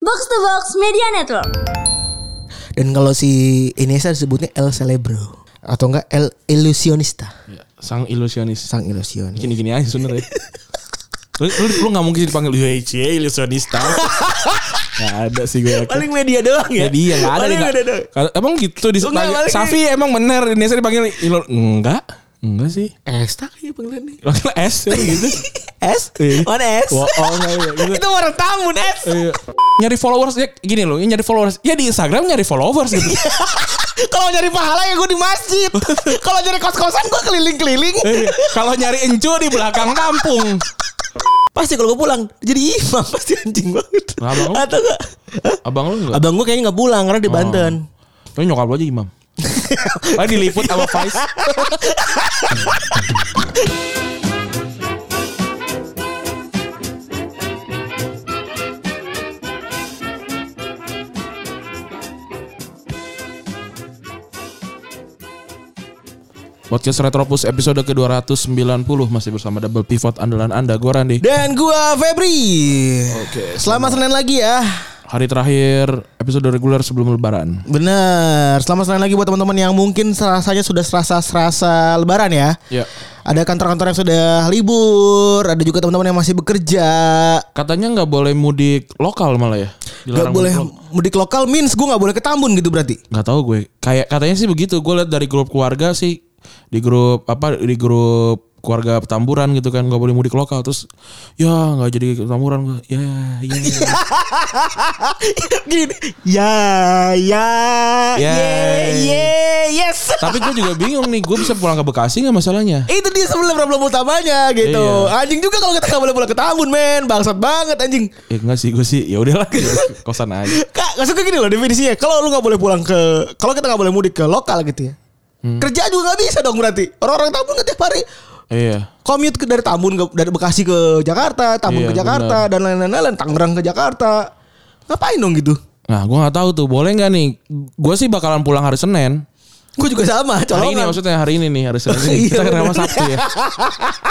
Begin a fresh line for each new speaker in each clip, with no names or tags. Box to Box Media Network.
Dan kalau si Iniesta disebutnya El Celebro atau enggak El Illusionista,
Ya, sang ilusionis.
sang ilusionis.
Gini-gini aja sebenernya. lu, lu, lu gak mungkin dipanggil UHC ilusionista. gak ada sih gue yakin.
Paling media doang ya.
Jadi yang
Paling
ada nih. nggak-
media doang.
Kalau- Emang gitu di
Enggak, paling-
Safi emang bener Indonesia dipanggil Ilo enggak? Enggak sih.
Esta kayaknya ya panggilannya. Eh.
Panggil S ya, gitu.
S?
Iya.
Mana S?
Bohong aja, gitu.
Itu orang tamu S.
Iya. nyari followers ya gini loh nyari followers ya di Instagram nyari followers gitu
Kalau nyari pahala ya gue di masjid. Kalau nyari kos-kosan gue keliling-keliling.
Iya. kalau nyari encu di belakang kampung
Pasti kalau gue pulang jadi imam pasti anjing banget.
Nah, abang lu?
Atau enggak?
abang lu enggak
Abang gue kayaknya nggak pulang karena di Banten.
Tapi nyokap lu aja imam Paling diliput sama Vice Podcast Retropus episode ke-290 Masih bersama Double Pivot andalan Anda Gue Randi
Dan gua Febri. Oke. Selamat Senin lagi ya.
Hari terakhir episode reguler sebelum lebaran
Bener. Selamat Senin lagi buat teman-teman yang mungkin rasanya sudah serasa-serasa lebaran ya.
Ya
Ada kantor-kantor yang sudah libur, ada juga teman-teman yang masih bekerja.
Katanya nggak boleh mudik lokal malah ya
Gak
Dilarang
boleh
mudik lokal.
mudik lokal means gue gak boleh ke Tambun gitu berarti.
nggak tahu gue kayak katanya sih begitu gue lihat dari grup keluarga sih di grup apa di grup keluarga petamburan gitu kan nggak boleh mudik lokal terus ya nggak jadi ke petamburan gue ya ya
Gini, ya, ya,
Ya.
ye, ye, yes.
tapi gue juga bingung nih gue bisa pulang ke Bekasi nggak masalahnya
Itu dia sebenarnya problem utamanya gitu.
Iya.
Anjing juga kalau kita gak boleh pulang ke Tambun men, bangsat banget anjing.
ya enggak sih gue sih ya udahlah kosan aja
Kak, maksudnya gini loh definisinya. Kalau lu nggak boleh pulang ke, kalau kita nggak boleh mudik ke lokal gitu ya.
Hmm.
Kerja juga nggak bisa dong berarti. Orang-orang Tambun kan tiap hari
iya
commute ke dari Tambun ke, dari Bekasi ke Jakarta, Tambun
Iya,
ke Jakarta dan lain-lain, Tangerang ke Jakarta. Ngapain dong gitu?
nah gue nggak tahu tuh boleh nggak nih gue sih bakalan pulang hari Senin
Gue juga sama,
hari ini
colongan.
maksudnya hari ini nih hari Senin
Iya,
kita rekaman
bener.
Sabtu ya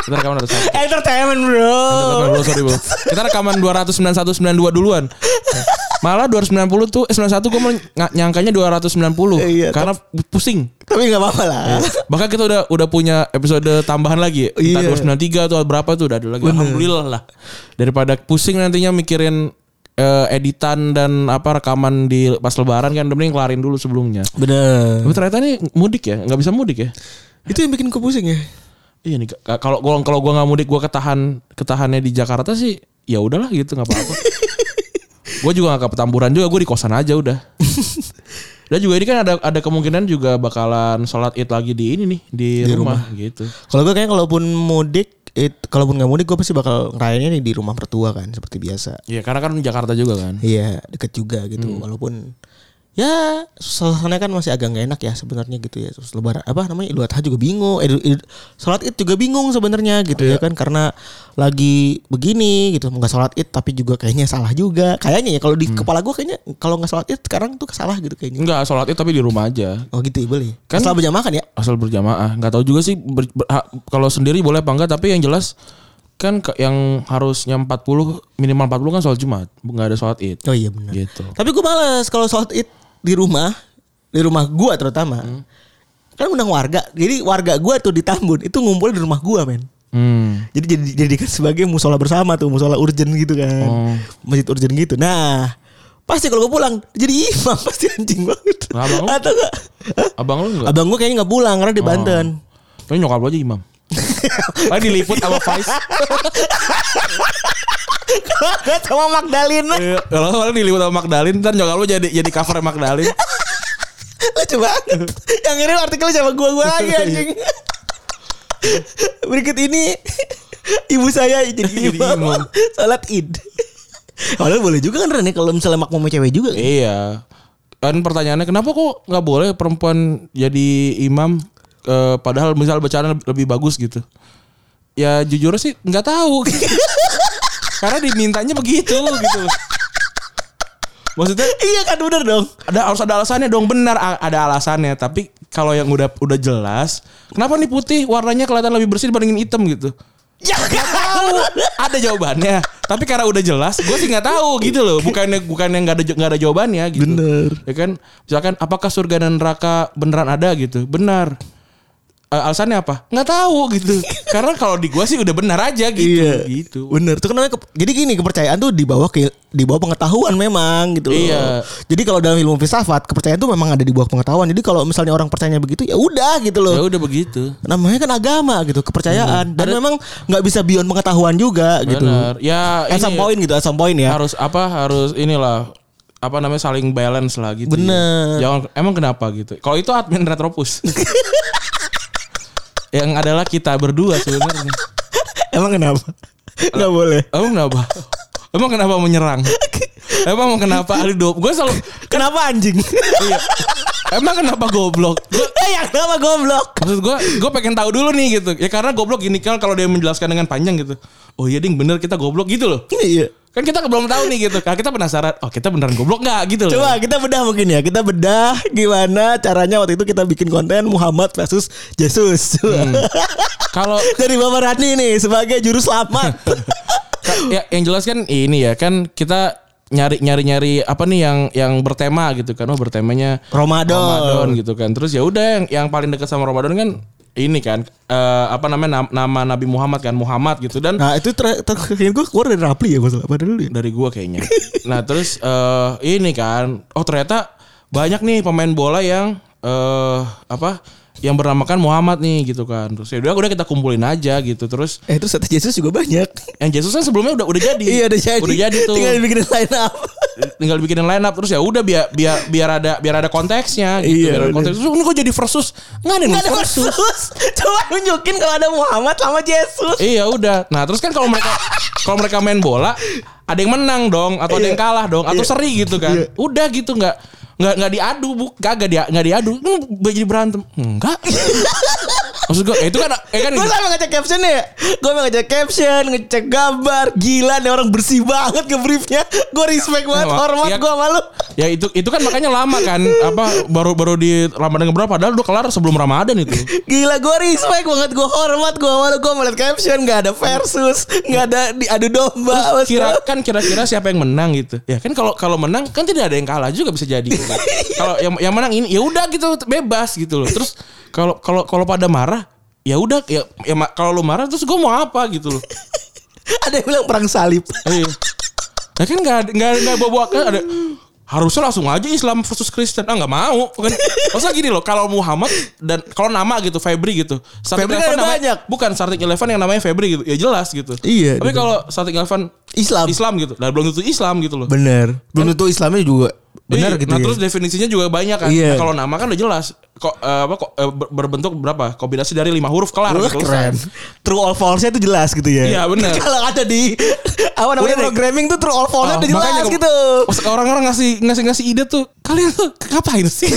kita rekaman hari Sabtu
Entertainment bro.
Bro, sorry bro. Kita rekaman 291 92 duluan. Malah 290 tuh eh, 91 gue nyangkanya 290
Iya,
karena pusing.
Tapi nggak apa-apa lah.
Bahkan kita udah udah punya episode tambahan lagi. Kita
Iya.
293 atau berapa tuh udah ada lagi. Alhamdulillah lah. Daripada pusing nantinya mikirin eh, editan dan apa rekaman di pas lebaran kan udah mending kelarin dulu sebelumnya.
Bener.
Tapi ternyata nih mudik ya, nggak bisa mudik ya.
Itu yang bikin gue pusing ya.
Iya nih ka- kalau gua kalau gua nggak mudik gua ketahan ketahannya di Jakarta sih ya udahlah gitu nggak apa-apa. gua juga nggak ke petamburan juga gua di kosan aja udah. Dan juga ini kan ada ada kemungkinan juga bakalan sholat id lagi di ini nih di, rumah, gitu.
Kalau gue kayaknya kalaupun mudik, it, kalaupun nggak mudik gue pasti bakal ngerayainnya nih di rumah mertua kan seperti biasa.
Iya karena kan Jakarta juga kan.
Iya deket juga gitu
Hmm.
walaupun ya suasana kan masih agak nggak enak ya sebenarnya gitu ya terus lebaran apa namanya idul adha juga bingung eh, Idul- Idul- sholat id juga bingung sebenarnya gitu
Iya.
ya kan karena lagi begini gitu nggak sholat id tapi juga kayaknya salah juga kayaknya ya kalau
Hmm.
di kepala gua kayaknya kalau nggak sholat id sekarang tuh salah gitu kayaknya
Enggak sholat id tapi di rumah aja.
oh gitu ya boleh
Kan-
kan setelah berjamaah kan ya
asal berjamaah nggak tahu juga sih ber- ber- ha- kalau sendiri boleh apa enggak tapi yang jelas kan ke- yang harusnya 40 minimal 40 kan sholat jumat nggak ada sholat id
oh iya benar
gitu
tapi gue males kalau sholat id di rumah di rumah gua terutama
Hmm.
kan undang warga jadi warga gua tuh di Tambun itu ngumpul di rumah gua men
hmm.
Jadi jadi dijadikan sebagai musola bersama tuh, musola urgent gitu kan.
Oh.
Masjid urgent gitu. Nah, pasti kalau gue pulang jadi imam pasti anjing banget.
Nah, abang Oh. lu?
Atau enggak? Hah?
abang lu nggak
Abang gue kayaknya nggak pulang karena di Banten.
Tapi nyokap lo aja imam. Lalu diliput sama Vice.
Sama Magdalena
Iya, Kalau kalau diliput sama Magdalene, ntar nyokap lo jadi jadi cover Magdalene.
Lucu banget Yang ini artikelnya sama gue Gue lagi anjing Berikut ini Ibu saya jadi
Jadi imam.
imam Salat id Padahal boleh juga kan Ren ya Kalau misalnya makmumnya cewek juga kan?
iya. Kan pertanyaannya kenapa kok nggak boleh perempuan jadi imam eh, padahal misal bacaan lebih, lebih bagus gitu. Ya jujur sih nggak tahu. Karena dimintanya begitu gitu. Maksudnya
Iya kan bener dong
ada harus ada alasannya dong benar a- ada alasannya tapi kalau yang udah udah jelas kenapa nih putih warnanya kelihatan lebih bersih dibandingin hitam gitu
Ya kan
tahu ada jawabannya Tapi karena udah jelas, gue sih nggak tahu gitu loh. Bukannya bukannya nggak ada nggak ada jawabannya gitu.
Bener.
Ya kan, misalkan apakah surga dan neraka beneran ada gitu? Benar. Eh, alasannya apa? Nggak tahu gitu. Karena kalau di gue sih udah benar aja gitu.
Iya.
Gitu.
Bener. Itu kan namanya ke- jadi gini kepercayaan tuh di bawah ke, di bawah pengetahuan memang gitu. loh.
Iya.
Jadi kalau dalam ilmu filsafat kepercayaan tuh memang ada di bawah pengetahuan. Jadi kalau misalnya orang percayanya begitu ya udah gitu loh.
Ya udah begitu.
Namanya kan agama gitu, kepercayaan dan memang nggak bisa beyond pengetahuan juga gitu.
Benar. Ya
At some point gitu, at some point ya.
harus apa harus inilah apa namanya saling balance lah gitu.
Bener.
Ya. Jangan emang kenapa gitu. Kalau itu admin Retropus. yang adalah kita berdua sebenarnya.
Emang kenapa? Nggak boleh.
Emang kenapa? Emang kenapa menyerang? Emang kenapa ahli dop? Gue selalu
Kenapa anjing?
iya. Emang kenapa goblok? Gua-
eh, yang kenapa goblok?
Maksud gue, gue pengen tahu dulu nih gitu. Ya karena goblok gini kan kalau dia menjelaskan dengan panjang gitu. Oh iya ding bener kita goblok gitu loh.
Iya.
Kan kita belum tahu nih gitu. Kalau kita penasaran, oh kita beneran goblok nggak gitu loh.
Coba kita bedah mungkin ya. Kita bedah gimana caranya waktu itu kita bikin konten Muhammad versus Jesus.
Hmm. Kalau
Dari Bapak Rani nih sebagai juru selamat.
ya yang jelas kan ini ya kan kita nyari nyari nyari apa nih yang yang bertema gitu kan. Oh bertemanya
Ramadan.
Ramadan gitu kan. Terus ya udah yang yang paling dekat sama Ramadan kan ini kan eh, apa namanya nam- nama Nabi Muhammad kan Muhammad gitu dan
Nah itu ter- terakhir gue keluar dari Rapli ya masalah padahal dulu ya.
dari gua kayaknya. Nah, terus eh ini kan oh ternyata banyak nih pemain bola yang eh apa yang bernamakan Muhammad nih gitu kan. Terus ya udah udah kita kumpulin aja gitu. Terus
Eh terus kata Jesus juga banyak.
yang Jesus kan sebelumnya udah udah jadi.
Iya udah jadi.
Udah jadi tuh.
Tinggal bikin line up.
tinggal bikinin line up terus ya udah biar biar biar ada biar ada konteksnya gitu
Iya,
biar ada
bener.
konteks terus ini kok jadi versus nggak ada,
Nggak
nih
ada
versus
versus. Coba nunjukin kalau ada Muhammad sama Jesus.
iya udah nah terus kan kalau mereka kalau mereka main bola ada yang menang dong atau ada yang kalah dong atau seri gitu kan
Iya.
udah gitu nggak nggak nggak diadu bu kagak dia nggak diadu hmm, jadi berantem enggak maksud gue itu kan eh kan
Gue sampe ngecek captionnya ya Gue sampe ngecek caption Ngecek gambar Gila nih orang bersih banget ke briefnya Gue respect banget
Wah,
Hormat
iya.
gue sama lu
ya itu itu kan makanya lama kan apa baru baru di Ramadan keberapa padahal udah kelar sebelum Ramadan itu
Gila gue respect banget Gue hormat gue sama lu Gue melihat caption Gak ada versus Gak ada diadu domba
kira kan kira-kira siapa yang menang gitu ya kan kalau kalau menang kan tidak ada yang kalah juga bisa jadi gitu kan. kalau yang yang menang ini ya udah gitu bebas gitu loh terus kalau kalau kalau pada marah ya udah ya, ya ma- kalau lu marah terus gue mau apa gitu loh
Ada yang bilang perang salib
Eh, ya kan nggak ada- nggak ada- nggak bawa kan ada harusnya langsung aja Islam versus Kristen ah nggak mau kan masa gini loh kalau Muhammad dan kalau nama gitu Febri gitu Starting
Febri kan
Eleven
ada
namanya-
banyak.
bukan starting eleven yang namanya Febri gitu ya jelas gitu
Iya,
tapi
gitu.
kalau starting eleven
Islam
Islam gitu dan belum tentu Islam gitu loh
Bener Belum tentu Islamnya juga Bener
Iya,
gitu
Nah
ya
terus definisinya juga banyak kan.
Iya.
Nah, kalau nama kan udah jelas. Kok eh, apa kok eh, ber- berbentuk berapa? Kombinasi dari lima huruf kelar.
Wah,
gitu,
keren
selesai.
True all false-nya itu jelas gitu ya
Iya, bener.
Kalau ada di Apa
Udah deh.
namanya programming tuh True all
Ah,
false-nya udah
makanya
jelas
kok-
gitu
pas Orang-orang ngasih ngasih ngasih ide tuh kalian tuh ngapain sih?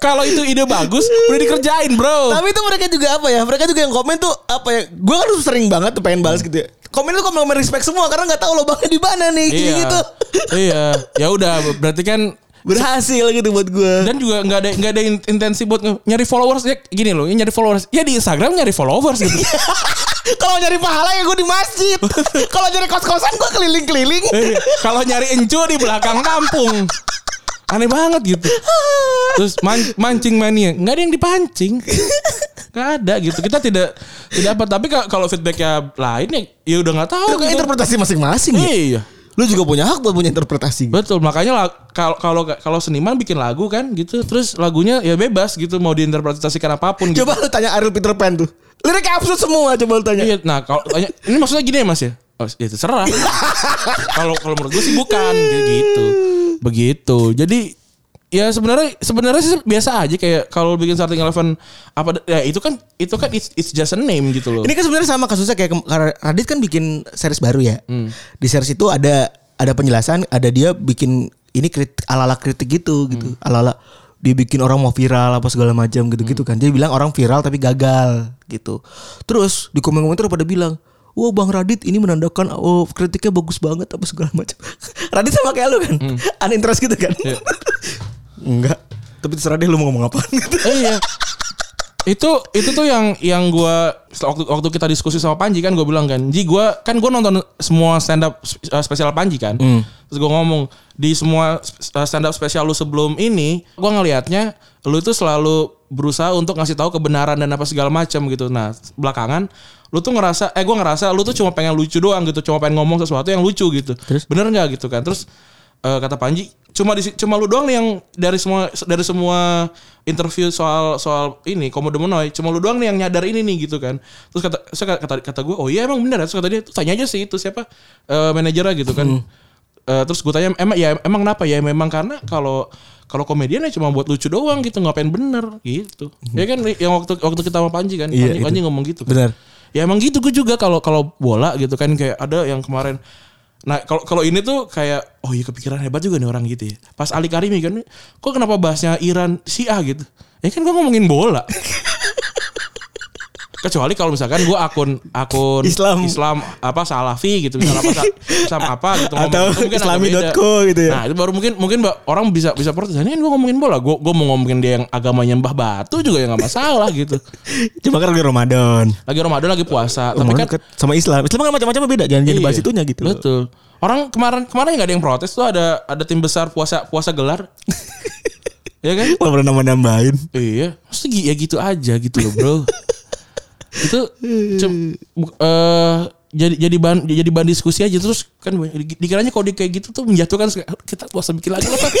kalau itu ide bagus udah dikerjain bro.
Tapi itu mereka juga apa ya? Mereka juga yang komen tuh apa ya? Gue kan sering banget tuh pengen
Hmm.
balas gitu ya. Komen tuh komen respect semua karena nggak tahu lubangnya di mana nih kayak gitu.
iya. Ya udah berarti kan
Berhasil gitu buat gue.
dan juga nggak ada nggak ada in- intensi buat nge- nyari followers ya gini loh nyari followers ya di Instagram nyari followers gitu
Kalau nyari pahala ya gue di masjid. Kalau nyari kos-kosan gue keliling-keliling.
Eh, kalau nyari encu di belakang kampung aneh banget gitu terus man- mancing mania nggak ada yang dipancing nggak ada gitu kita tidak tidak apa tapi ka- kalau feedbacknya lain ya, ya udah nggak tahu
Itu kan
gitu.
interpretasi masing-masing ya.
iya
Lu juga punya hak buat punya interpretasi.
betul makanya la- kalau kalau kalau seniman bikin lagu kan gitu terus lagunya ya bebas gitu mau diinterpretasikan apapun gitu.
Coba lu tanya Ariel Peter Pan tuh. Lirik absurd semua coba lu tanya.
Iya, nah kalau tanya, ini maksudnya gini ya Mas ya? Oh, ya terserah. Kalau kalau menurut gue sih bukan kayak gitu. Begitu. Jadi ya sebenarnya sebenarnya sih biasa aja kayak kalau bikin starting eleven apa ya itu kan itu kan it's, it's just a name gitu loh.
Ini kan sebenarnya sama kasusnya kayak kem- karena Radit kan bikin series baru ya.
Hmm.
Di series itu ada ada penjelasan, ada dia bikin ini kritik ala-ala kritik gitu gitu.
Hmm.
Ala-ala dia bikin orang mau viral apa segala macam gitu-gitu kan.
Hmm.
Dia bilang orang viral tapi gagal gitu. Terus di komen-komentar pada bilang Wah Bang Radit ini menandakan oh, kritiknya bagus banget apa segala macam. Radit sama kayak lu kan,
Hmm.
uninterest
Iya.
gitu kan. Enggak. Tapi terserah deh lu mau ngomong apa.
Eh, iya. itu itu tuh yang yang gua waktu waktu kita diskusi sama Panji kan gue bilang kan, "Ji, gua kan gua nonton semua stand up sp- eh, spesial Panji kan." Terus gua ngomong, "Di semua sp- eh, stand up spesial lu sebelum ini, gua ngelihatnya lu tuh selalu berusaha untuk ngasih tahu kebenaran dan apa segala macam gitu. Nah, belakangan lu tuh ngerasa eh gua ngerasa lu tuh cuma pengen lucu doang gitu, cuma pengen ngomong sesuatu yang lucu gitu. Bener nggak gitu kan? Terus eh, kata Panji cuma di cuma lu doang nih yang dari semua dari semua interview soal soal ini komodo menoi cuma lu doang nih yang nyadar ini nih gitu kan terus kata terus kata kata, kata gue oh iya emang bener ya?" terus kata dia "Tuh, tanya aja sih itu siapa eh, manajernya gitu kan
Hmm.
Eh, terus gue tanya emang ya emang kenapa ya memang karena kalau kalau komedian ya cuma buat lucu doang gitu ngapain bener gitu ya kan yang waktu waktu kita sama Panji kan
Iya,
Panji,
itu.
Panji ngomong gitu kan.
Benar.
Ya emang gitu gue juga kalau kalau bola gitu kan kayak ada yang kemarin. Nah kalau kalau ini tuh kayak oh iya kepikiran hebat juga nih orang gitu ya. Pas Ali Karimi kan kok kenapa bahasnya Iran si A gitu. Ya kan gue ngomongin bola. Kecuali kalau misalkan gue akun akun
Islam.
Islam apa Salafi gitu misalnya apa sa- Islam apa gitu ngomong.
Atau
Itu mungkin agak
islami.co
beda.
gitu ya.
Nah itu baru mungkin mungkin ba- orang bisa bisa protes. Ini kan gue ngomongin bola. Gue gue mau ngomongin dia yang agamanya Mbah Batu juga ya nggak masalah gitu.
Cuma kan lagi Ramadan.
Lagi Ramadan lagi puasa. Tapi
Ramadan
kan
kan sama Islam. Islam kan macam-macam beda. Jangan jadi bahas
Iya,
itunya gitu. loh.
Betul. Orang kemarin kemarin nggak ada yang protes tuh ada ada tim besar puasa puasa gelar. ya kan?
Nggak pernah nambah-nambahin.
Iya. Mesti gi- ya gitu aja gitu loh, Bro. itu cem- bu- eh, jadi jadi bahan jadi bahan diskusi aja terus kan di- dikiranya kalau di kayak gitu tuh menjatuhkan se- kita puasa bikin lagi lah Feb.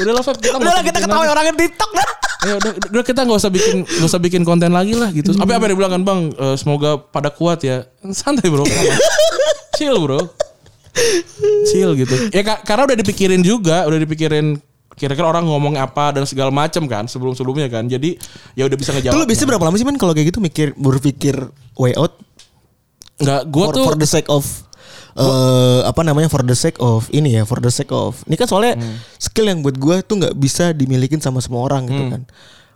udah lah Feb kita nggak usah bikin lagi.
orang TikTok lah.
Ayo, udah, udah kita nggak usah bikin nggak usah bikin konten lagi lah gitu apa apa yang dibilang kan bang eh, semoga pada kuat ya santai bro chill bro chill gitu ya ka- karena udah dipikirin juga udah dipikirin kira-kira orang ngomong apa dan segala macam kan sebelum sebelumnya kan jadi ya udah bisa ngejawab
Tuh lu bisa berapa lama sih men kalau kayak gitu mikir berpikir way out
nggak gua
for,
tuh
for the sake of eh apa namanya for the sake of ini ya for the sake of ini kan soalnya
Hmm.
skill yang buat gue tuh nggak bisa dimilikin sama semua orang gitu
Hmm.
kan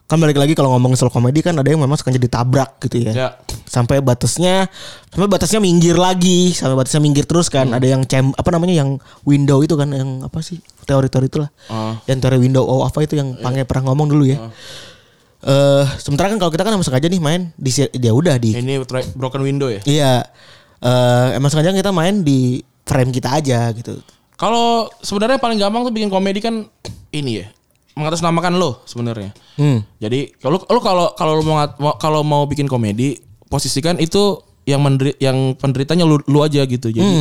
kan balik lagi kalau ngomongin soal komedi kan ada yang memang sengaja ditabrak gitu ya
Ya.
sampai batasnya sampai batasnya minggir lagi sampai batasnya minggir terus kan
Hmm.
ada yang cem apa namanya yang window itu kan yang apa sih teori-teori itulah
Ah.
yang teori window oh apa itu yang pange pernah ngomong dulu ya eh sementara kan kalau kita kan emang sengaja nih main di si- dia udah di
ini tra- broken window ya
Iya. Eh emang sengaja kita main di frame kita aja gitu.
kalau sebenarnya paling gampang tuh bikin komedi kan ini ya mengatasnamakan lo sebenarnya
Hmm.
Jadi kalau lu kalau kalau lu mau ngat- mau- kalau mau bikin komedi, posisikan itu yang menderi, yang penderitanya lu, lu aja
Hmm.
gitu. Jadi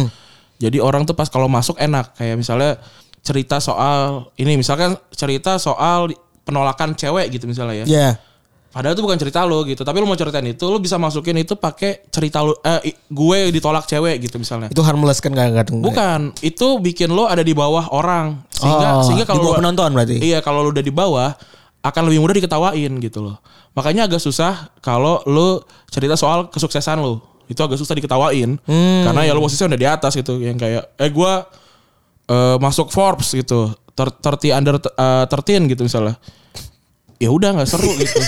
jadi orang tuh pas kalau masuk enak kayak misalnya cerita soal ini misalkan cerita soal penolakan cewek gitu misalnya ya.
Ya.
Padahal itu bukan cerita lo gitu, tapi lu mau ceritain itu lu bisa masukin itu pakai cerita lu eh, i- gue ditolak cewek gitu misalnya.
Itu harmless kan gak gak
Bukan, itu bikin lo ada di bawah orang sehingga
Oh,
sehingga
di
kalau
bawah
lu-
penonton berarti?
Iya, kalau lo udah di bawah akan lebih mudah diketawain gitu loh. Makanya agak susah kalau lo cerita soal kesuksesan lo. Itu agak susah diketawain karena ya lo posisinya udah di atas gitu yang kayak eh gua eh, masuk Forbes gitu. ter- 30 under eh, 13 gitu misalnya. Ya udah nggak seru gitu.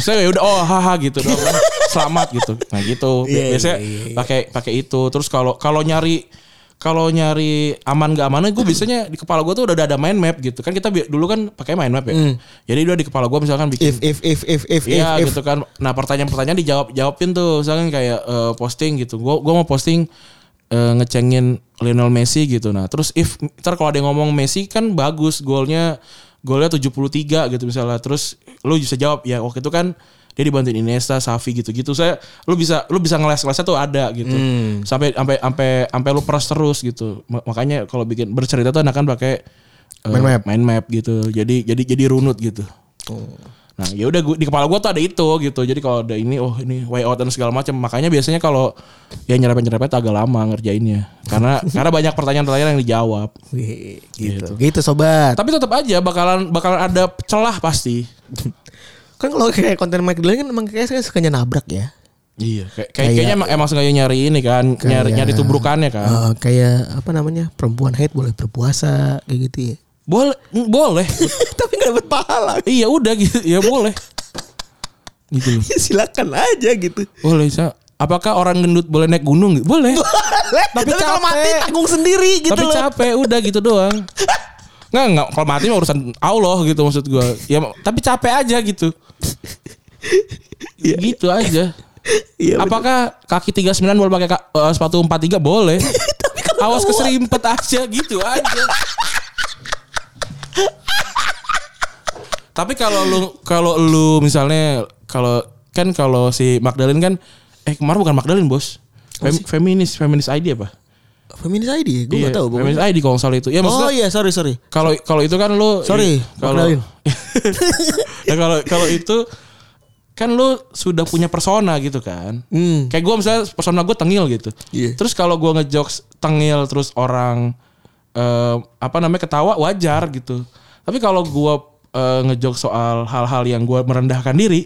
Misalnya ya udah oh haha gitu doang. Selamat gitu. Nah gitu. Biasanya pakai pakai itu. Terus kalau kalau nyari kalau nyari aman gak aman gue biasanya di kepala gue tuh udah ada mind map gitu kan kita bi- dulu kan pakai mind map ya jadi udah di kepala gue misalkan bikin
If if if if if
Iya
if. if.
gitu kan. Nah pertanyaan-pertanyaan dijawab jawabin tuh. Misalkan kayak eh, posting gitu. Gue gua mau posting eh, ngecengin Lionel Messi gitu. Nah terus if ntar kalau ada yang ngomong Messi kan bagus golnya golnya 73 gitu misalnya. Terus lu bisa jawab ya waktu itu kan dia dibantuin Iniesta, Xavi gitu-gitu. Saya lu bisa lu bisa ngeles-ngelesnya tuh ada gitu.
Hmm.
Sampai sampai sampai sampai lu peras terus gitu. Ma- Makanya kalau bikin bercerita tuh enakan pakai eh,
Mind map.
mind map gitu. Jadi jadi jadi runut gitu.
Oh,
Nah, ya udah gua- di kepala gua tuh ada itu gitu. Jadi kalau ada ini oh ini way out dan segala macam. Makanya biasanya kalau ya nyerempet-nyerempet agak lama ngerjainnya. Karena karena banyak pertanyaan-pertanyaan yang dijawab. Nah,
Wih, Gitu. Gitu sobat.
Tapi tetap aja bakalan bakalan ada celah pasti.
Kan kalau kayak konten Mike Dillon kan emang kayaknya suka nabrak ya.
Iya, kayak, kayak- kayaknya emang, emang sengaja nyari ini kan, nyari nyari tubrukannya kan.
Eh, kayak apa namanya perempuan hate boleh berpuasa kayak gitu ya.
Boleh boleh.
Tapi gak dapat pahala.
iya, udah gitu. Ya boleh. Gitu loh.
Ya, silakan aja gitu.
Boleh, Sa. Apakah orang gendut boleh naik gunung? Boleh.
Tapi, kalau
capek.
mati tanggung sendiri gitu
tapi
loh.
capek udah gitu doang nggak nggak kalau mati mah urusan Allah gitu maksud gua ya tapi capek aja gitu gitu aja.
Iya.
Apakah kaki 39 boleh pakai ka- eh, sepatu 43 boleh? Awas keserimpet aja gitu aja. Tapi kalau lu kalau lu misalnya kalau kan kalau si Magdalene kan eh kemarin bukan Magdalene, Bos. Fem- feminis, feminis ID apa?
Feminis ID, gue nggak
Iya,
tahu. pokoknya.
Feminis ID kalau nggak salah itu. Ya maksudnya
Oh iya, sorry sorry.
kalau kalau itu kan lu
Sorry,
kalau
Magdalene.
ya kalau kalau itu kan lu sudah punya persona gitu kan.
Hmm.
Kayak gue misalnya persona gue tengil gitu.
Iya.
Terus kalau gue ngejokes tengil terus orang eh, apa namanya ketawa wajar gitu. Tapi kalau gue eh, ngejokes soal hal-hal yang gue merendahkan diri,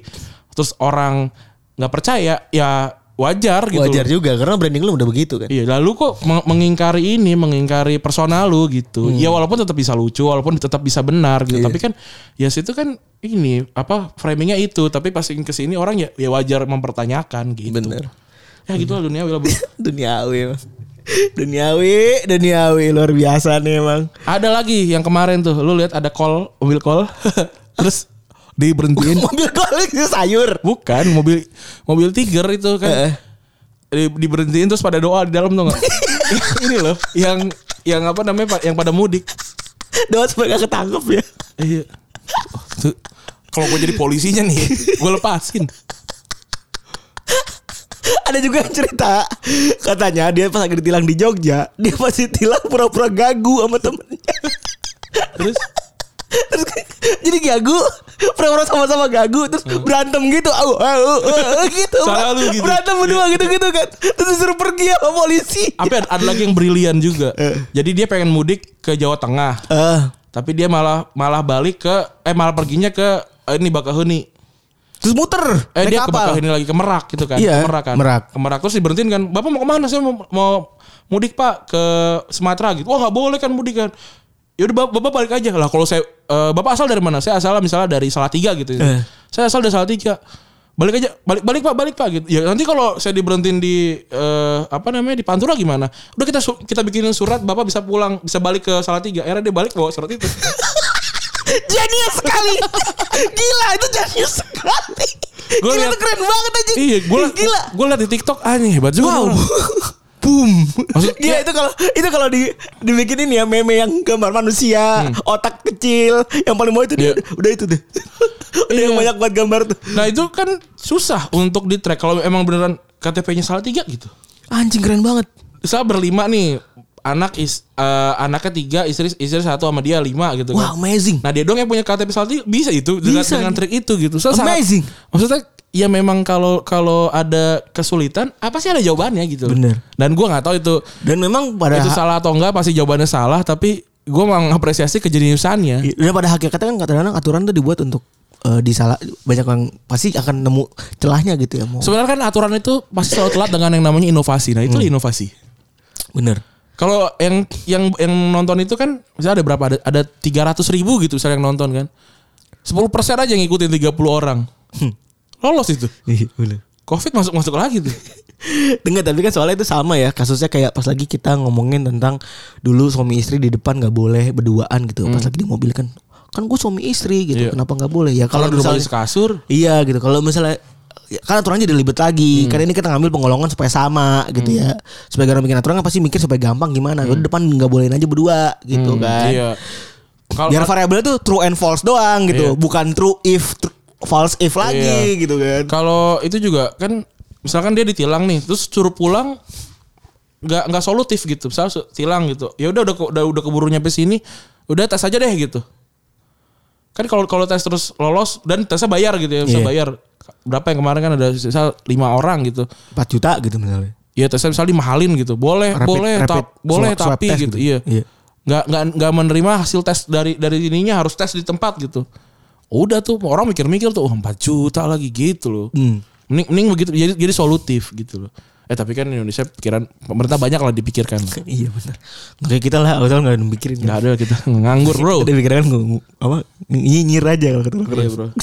terus orang nggak percaya ya wajar gitu.
Wajar juga karena branding lu udah begitu kan.
Iya, lalu kok meng- mengingkari ini, mengingkari personal lu gitu. Ya walaupun tetap bisa lucu, walaupun tetap bisa benar gitu. Tapi kan ya situ kan ini apa framingnya itu, tapi pas ke sini orang ya ya wajar mempertanyakan gitu.
Bener.
Ya gitu lah dunia Will, bro.
Duniawi. Bang. Duniawi, duniawi luar biasa nih emang.
Ada lagi yang kemarin tuh, lu lihat ada call, mobil call. Terus diberhentiin.
Mobil koleksi sayur.
Iya. Bukan mobil mobil Tiger itu kan. Di, diberhentiin terus pada doa di dalam tuh enggak. ini loh yang yang apa namanya Pak, yang pada mudik.
Doa supaya gak ketangkep ya.
Iya. Oh, tuh. Kalau gue jadi polisinya nih, gue lepasin.
Ada juga yang cerita katanya dia pas lagi ditilang di Jogja, dia pasti tilang pura-pura gagu sama temennya.
Terus
Terus jadi gagu, pura-pura sama-sama gagu, terus berantem gitu, au, au, au, gitu.
Selalu Hmm. gitu.
Berantem berdua gitu-gitu kan. Terus disuruh pergi sama polisi.
apa ada, ada lagi yang brilian juga. Jadi dia pengen mudik ke Jawa Tengah,
Eh,
tapi dia malah malah balik ke eh malah perginya ke eh, ini Bakaheni.
terus muter
Eh
naik
dia ke
kapal.
Bakaheni lagi ke Merak gitu kan.
Iya,
ke Merak kan.
Merak.
Ke Merak terus diberhentiin kan. Bapak mau kemana saya mau, mau mudik Pak ke Sumatera gitu. Wah nggak boleh kan mudik kan. Yaudah Bap- bapak, balik aja lah kalau saya eh, bapak asal dari mana? Saya asal misalnya dari Salatiga gitu.
Eh.
Saya asal dari Salatiga. Balik aja, balik balik Pak, balik Pak gitu. Ya nanti kalau saya diberhentiin di eh, apa namanya di Pantura gimana? Udah kita su- kita bikinin surat Bapak bisa pulang, bisa balik ke Salatiga. Era dia balik bawa surat itu.
Jenius sekali. Gila itu jenius sekali.
Gua
Gila
liat-
itu keren banget aja.
iya, gue
gila.
gue liat di TikTok aneh hebat juga.
Wow.
orang.
Boom.
Maksud- Iya.
Gila itu kalau itu kalau di dibikin ini ya meme yang gambar manusia, otak kecil, yang paling mau itu dia,
Hmm. Iya.
udah itu deh. udah yang
Iya.
banyak buat gambar tuh.
Nah itu kan susah untuk di track kalau emang beneran KTP-nya salah tiga gitu.
Anjing keren banget.
Saya berlima nih anak is eh, anaknya tiga istri istri satu sama dia lima gitu
Wow,
kan.
amazing.
Nah dia dong yang punya KTP salah tiga bisa itu dengan,
Bisa.
dengan trik itu gitu. Saya sangat-
Amazing.
maksudnya ya memang kalau kalau ada kesulitan apa sih ada jawabannya gitu.
Bener. Ya.
Dan gua nggak tahu itu
Dan memang pada
itu salah atau enggak pasti jawabannya salah tapi gua mengapresiasi kejeniusannya.
Iya, Dan pada hakikatnya kan kadang-kadang aturan tuh dibuat untuk eh, disalah banyak orang pasti akan nemu celahnya gitu ya mau.
Sebenarnya kan aturan itu pasti selalu telat dengan yang namanya inovasi. Nah
Hmm.
itu inovasi.
Bener.
Kalau yang yang yang nonton itu kan misalnya ada berapa ada ada 300 ribu gitu misalnya yang nonton kan. 10 persen aja yang ngikutin 30 orang.
Hmm.
Lolos itu.
Iya, bener.
Covid masuk-masuk lagi tuh.
Enggak tapi kan soalnya itu sama ya kasusnya kayak pas lagi kita ngomongin tentang dulu suami istri di depan nggak boleh berduaan gitu pas lagi di mobil kan kan gue suami istri gitu
Hmm. Iya.
kenapa nggak boleh ya kalau
Kalau di rumah di
misalnya
kasur.
iya gitu kalau misalnya ya, kan aturannya jadi ribet lagi karena ini kita ngambil penggolongan supaya sama gitu ya supaya orang bikin aturan kan pasti mikir supaya gampang gimana Kalau di depan nggak bolehin aja berdua gitu kan
Iya. Kalau
biar variabelnya tuh true and false doang gitu bukan true if tru- false if lagi
Iya.
gitu kan
kalau itu juga kan misalkan dia ditilang nih terus suruh pulang nggak nggak solutif gitu misal su- tilang gitu ya udah udah ke- udah udah keburu nyampe sini udah tes aja deh gitu kan kalau kalau tes terus lolos dan tesnya bayar gitu ya bisa
Iya.
bayar berapa yang kemarin kan ada misal lima orang gitu
4 juta gitu misalnya
ya tesnya misal dimahalin gitu boleh
Rapid-
boleh
rapid
tap- boleh
swab- swab
tapi
test
gitu,
gitu.
iya
Iya.
nggak nggak nggak menerima hasil tes dari dari ininya harus tes di tempat gitu udah tuh orang mikir-mikir tuh oh, 4 juta lagi gitu loh
Hmm.
mending mending begitu jadi jadi solutif gitu loh eh tapi kan Indonesia pikiran pemerintah banyak lah dipikirkan
Iya benar. Nggak kayak kita lah, kalau nggak ada yang mikirin.
nggak ada kita nganggur bro
Ada pikiran kan nggak- nggak- apa nyinyir aja kalau kata orang
Iya, bro.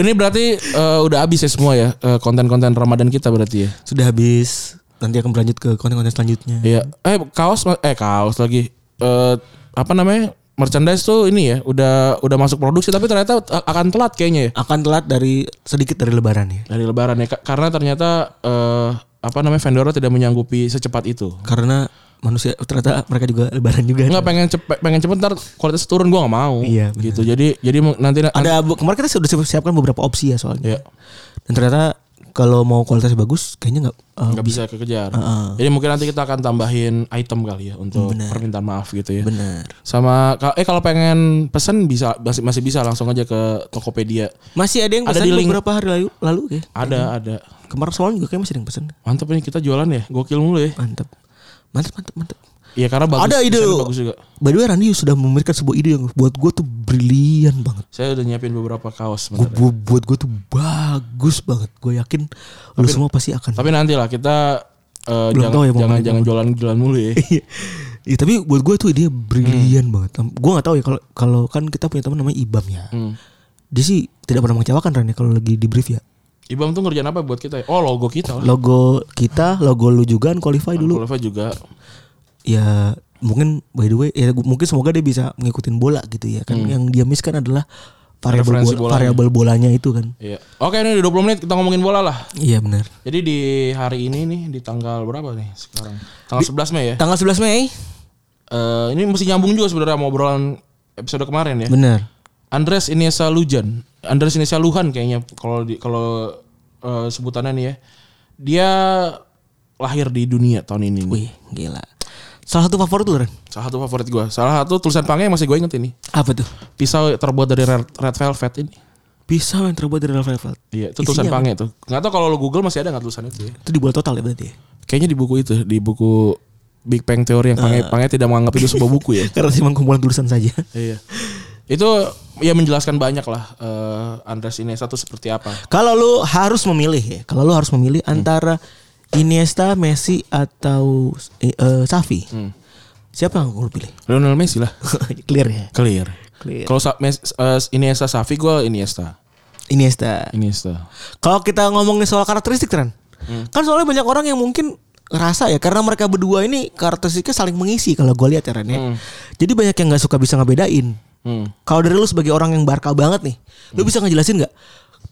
ini berarti eh, udah habis ya semua ya eh, konten-konten Ramadan kita berarti ya
Sudah habis. Nanti akan Iya. berlanjut ke konten-konten selanjutnya.
Iya. Eh kaos eh kaos lagi. Eh apa namanya? merchandise tuh ini ya udah udah masuk produksi tapi ternyata a- akan telat kayaknya ya
Akan telat dari sedikit dari lebaran ya.
dari lebaran ya Ka- karena ternyata eh, apa namanya vendor tidak menyanggupi secepat itu.
Karena manusia ternyata mereka juga lebaran juga.
Nggak pengen cepet pengen cepet ntar kualitas turun gua nggak mau.
Gitu. Iya, benar.
gitu. Jadi jadi mau- nanti
Ada bu- kemarin kita sudah siapkan beberapa opsi ya soalnya.
ya
Dan ternyata kalau mau kualitas bagus kayaknya nggak eh,
nggak bisa kekejar.
Heeh.
Jadi mungkin nanti kita akan tambahin item kali ya untuk
Benar.
permintaan maaf gitu ya.
benar.
Sama ka- eh kalau pengen pesen bisa masih, masih bisa langsung aja ke Tokopedia.
Masih ada yang
Ada
pesan
di link.
beberapa hari lalu, lalu ya.
Ada ada.
Kemarin semalam juga kayak masih ada yang pesan.
Mantap ini kita jualan ya. Gokil mulu ya.
Mantap. Mantap mantap mantap.
Iya karena bagus.
Ada ide.
desainnya Bagus juga.
By the way Randy sudah memberikan sebuah ide yang buat gue tuh brilian banget.
Saya udah nyiapin beberapa kaos
Gua,
sebentar.
gua- buat gue tuh bagus banget. Gue yakin lu semua pasti akan.
Tapi nanti lah kita eh,
Belum
jangan
tahu ya mau
jangan
beli
jangan jualan jualan mulu ya.
Iya tapi buat gue tuh dia brilian banget. Gue nggak tahu ya kalau kalau kan kita punya teman namanya Ibam ya.
Hmm.
Dia sih tidak pernah mengecewakan Randy kalau lagi di brief ya.
Ibam tuh ngerjain apa buat kita? ya? Oh logo kita lah.
Logo kita, logo lu juga kan qualify dulu.
Kulfa juga.
ya mungkin by the way ya gu- mungkin semoga dia bisa ngikutin bola gitu ya kan yang dia miss kan adalah variabel
Referensi
bola,
bolanya.
variabel bolanya itu kan
Iya. Oke ini udah 20 menit kita ngomongin bola lah.
iya benar
Jadi di hari ini nih di tanggal berapa nih sekarang? Tanggal 11 Mei ya.
tanggal 11 Mei
Eh, ini mesti nyambung juga sebenarnya sama obrolan episode kemarin ya.
benar
Andres Iniesta Lujan, Andres Iniesta Luhan kayaknya kalau di kalau eh, sebutannya nih ya. Dia lahir di dunia tahun ini. nih.
wih gila salah satu favorit lu Ren
Salah satu favorit gua. Salah satu tulisan pangnya yang masih gue inget ini.
apa tuh
Pisau terbuat dari red, red velvet ini.
pisau yang terbuat dari Ralph Lauren
Iya, itu tulisan
Isinya apa?
pangnya itu. Nggak tahu kalau lo Google masih ada nggak tulisan itu ya?
itu dibuat total ya berarti ya?
Kayaknya di buku itu, di buku Big Bang Theory yang pangnya, pangnya tidak menganggap itu sebuah buku ya.
karena cuma kumpulan tulisan saja
iya. Itu ya menjelaskan banyak lah eh, Andres Iniesta itu seperti apa.
kalau lu harus memilih ya kalau lu harus memilih antara Iniesta Messi atau eh, eh, Xavi siapa yang lu pilih
Lionel Messi lah.
clear ya
Clear.
Clear.
Kalau Sa- Mes- eh, Iniesta Safi gue Iniesta.
Iniesta
Iniesta.
Kalau kita ngomongin soal karakteristik Tren.
Hmm.
Kan soalnya banyak orang yang mungkin ngerasa ya karena mereka berdua ini karakteristiknya saling mengisi kalau gue lihat ya Ren ya. Jadi banyak yang nggak suka bisa ngebedain.
Hmm.
Kalau dari lu sebagai orang yang barca banget nih, lu bisa ngejelasin nggak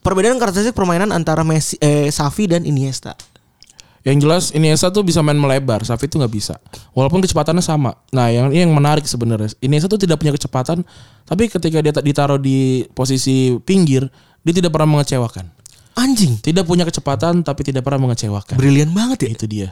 perbedaan karakteristik permainan antara Messi, eh, Xavi dan Iniesta?
Yang jelas Iniesta tuh bisa main melebar, Safi tuh nggak bisa. Walaupun kecepatannya sama. Nah, yang ini yang menarik sebenarnya. Iniesta tuh tidak punya kecepatan, tapi ketika dia ta- ditaruh di posisi pinggir, dia tidak pernah mengecewakan.
Anjing,
Tidak punya kecepatan, tapi tidak pernah mengecewakan.
brilian banget ya.
Itu dia.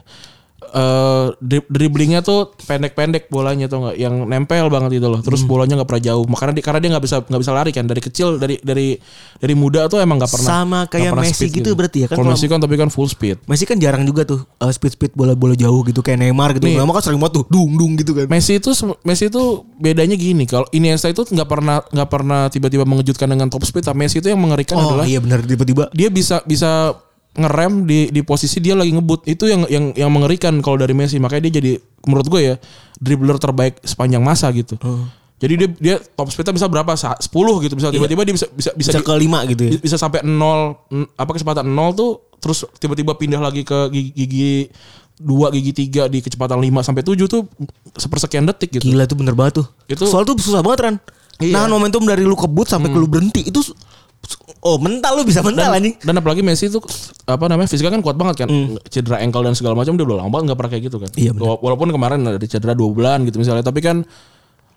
Eh dri- dribblingnya tuh pendek-pendek bolanya tuh nggak, yang nempel banget itu loh. Terus
Hmm.
bolanya nggak pernah jauh. Makanya dia, karena dia nggak bisa nggak bisa lari kan dari kecil dari dari dari muda tuh emang nggak pernah
Sama
nggak
kayak
pernah
Messi
speed
gitu berarti ya, kan
Kalau
kalau-
Messi kan tapi kan full speed.
Messi kan jarang juga tuh eh, speed-speed bola-bola jauh gitu kayak Neymar gitu.
Nih.
Memang kan sering banget tuh dung-dung gitu kan.
Messi itu Messi itu bedanya gini kalau Iniesta itu nggak pernah nggak pernah tiba-tiba mengejutkan dengan top speed tapi Messi itu yang
Oh
mengerikan Kan adalah
iya benar tiba-tiba
dia bisa bisa ngerem di di posisi dia lagi ngebut itu yang yang yang mengerikan kalau dari Messi makanya dia jadi menurut gue ya dribbler terbaik sepanjang masa gitu jadi dia dia top speednya bisa berapa Sa- 10 gitu bisa tiba-tiba dia bisa bisa bisa,
bisa
di-
kelima gitu ya.
bi- bisa sampai nol n- apa kecepatan nol tuh terus tiba-tiba pindah lagi ke gigi, gigi dua gigi tiga di kecepatan 5 sampai 7 tuh sepersekian detik gitu.
Gila itu bener banget tuh.
Itu- Iya.
Soal tuh susah banget Ran. Nahan momentum dari lu kebut sampai ke lu berhenti itu su- su- oh mental lu bisa mental anjing.
Hmm. Dan apalagi Messi itu apa namanya fisiknya kan kuat banget kan. Cedera ankle dan segala macam dia udah lama banget nggak pernah kayak gitu kan.
Hmm. Iya, benar.
Wala- Walaupun kemarin ada cedera 2 bulan gitu misalnya tapi kan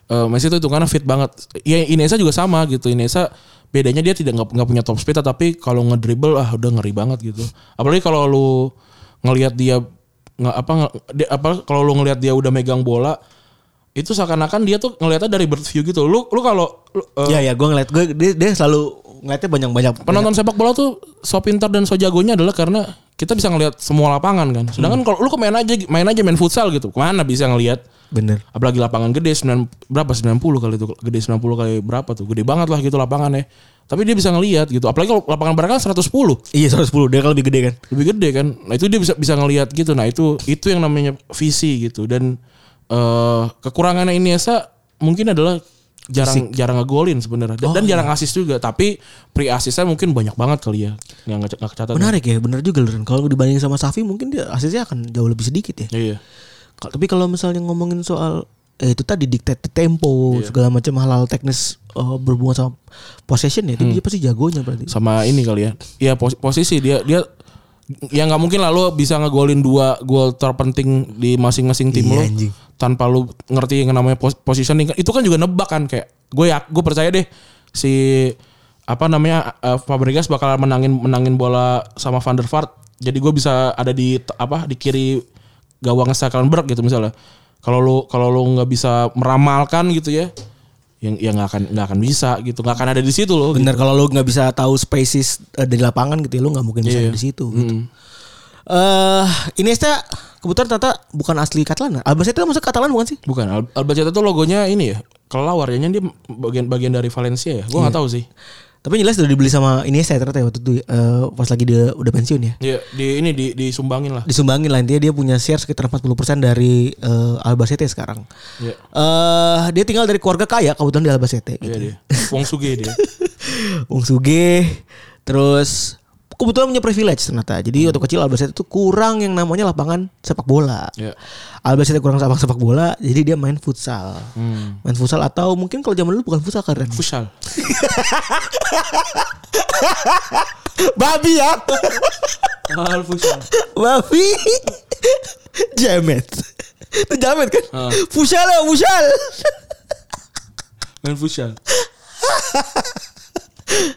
eh, Messi itu karena fit banget. Ya Iniesta juga sama gitu. Iniesta bedanya dia tidak nggak nggak punya top speed tapi kalau ngedribble ah udah ngeri banget gitu. Apalagi kalau lu ngelihat dia nggak apa nge- dia- apa kalau lu ngelihat dia udah megang bola itu seakan-akan dia tuh ngelihatnya dari bird view gitu. Lu lu kalau lu, eh,
Ya ya gua ngeliat gua dia, dia selalu ngeliatnya banyak-banyak.
penonton sepak bola tuh so pintar dan so jagonya adalah karena kita bisa ngelihat semua lapangan kan. Sedangkan kalau lu kok main aja main aja main futsal gitu. Mana bisa ngelihat
Bener.
apalagi lapangan gede 9 berapa 90 kali itu gede 90 kali berapa tuh. Gede banget lah gitu lapangannya. Tapi dia bisa ngelihat gitu. Apalagi kalau lapangan Barca kan 110
Iya 110 dia kalau lebih gede kan.
lebih gede kan nah itu dia bisa bisa ngelihat gitu nah itu itu yang namanya visi gitu dan eh kekurangannya Iniesta mungkin adalah jarang jarang ngegolin sebenarnya dan, dan jarang asis juga tapi pre asisnya mungkin banyak banget kali ya yang nggak nggak kecatat
Menarik ya, bener juga lu Ran. Kalau dibandingin sama Safi mungkin dia asisnya akan jauh lebih sedikit ya.
iya
Kalau- Tapi kalau misalnya ngomongin soal eh, itu tadi diktated tempo
Iya.
segala macam hal-hal teknis eh, berhubungan sama possession ya
Hmm.
itu dia pasti jagonya berarti
sama ini kali ya. Iya pos- posisi dia dia ya nggak mungkin lah lo bisa ngegolin dua gol terpenting di masing-masing tim
Iya,
lo
anjing.
tanpa lo ngerti yang namanya pos- positioning itu kan juga nebak kan kayak gue ya gue percaya deh si apa namanya eh, Fabregas bakal menangin menangin bola sama Van der Vaart jadi gue bisa ada di t- apa di kiri gawang Sakalenberg gitu misalnya kalau lo kalau lo nggak bisa meramalkan gitu ya yang yang nggak akan nggak akan bisa gitu nggak akan ada di situ lo
bener kalau lo nggak bisa tahu spaces eh, di lapangan gitu ya lo nggak mungkin bisa
Iya.
ada di situ gitu.
Hmm.
Eh, Iniesta kebetulan ternyata bukan asli Catalan. ya? Ah, Albacete itu masuk Catalan bukan sih?
Bukan Al- Albacete tuh logonya ini ya. Kelelawar ya dia bagian bagian dari Valencia ya.
Iya.
Gua nggak tahu sih.
Tapi jelas udah dibeli sama Iniesta ternyata ya waktu itu eh, pas lagi dia udah pensiun ya.
Iya, di ini di disumbangin lah.
Disumbangin lah intinya dia punya share sekitar 40% dari eh, Albacete sekarang.
Iya.
eh dia tinggal dari keluarga kaya kebetulan di Albacete. gitu.
Iya dia. Wong Suge dia. Iya.
Wong Suge terus kebetulan punya privilege ternyata.
Hmm.
Jadi waktu kecil Albacete itu kurang yang namanya lapangan sepak bola.
Iya.
Albacete kurang lapangan sepak bola, jadi dia main futsal. Main futsal atau mungkin kalau zaman dulu bukan futsal keren.
Hmm. Futsal.
Babi ya.
Mahal futsal.
Babi. jamet. Itu jamet kan?
Ah.
Futsal ya, futsal.
Main futsal.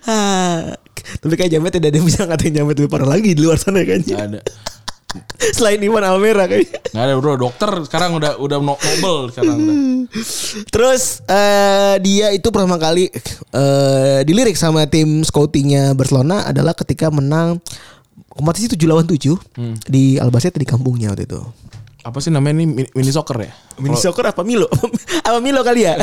Ah. Tapi kayak jamet tidak ada yang bisa ngatain jamet lebih parah lagi di luar sana kan.
Gak ada.
Selain Iwan Almera kan. kayaknya.
Gak ada bro, dokter sekarang udah udah no- nobel sekarang udah.
Terus eh, dia itu pertama kali eh, dilirik sama tim scoutingnya Barcelona adalah ketika menang kompetisi 7 lawan 7 di Albacete di kampungnya waktu itu.
Apa sih namanya ini mini, mini soccer ya?
Mini soccer apa Milo? apa Milo kali ya?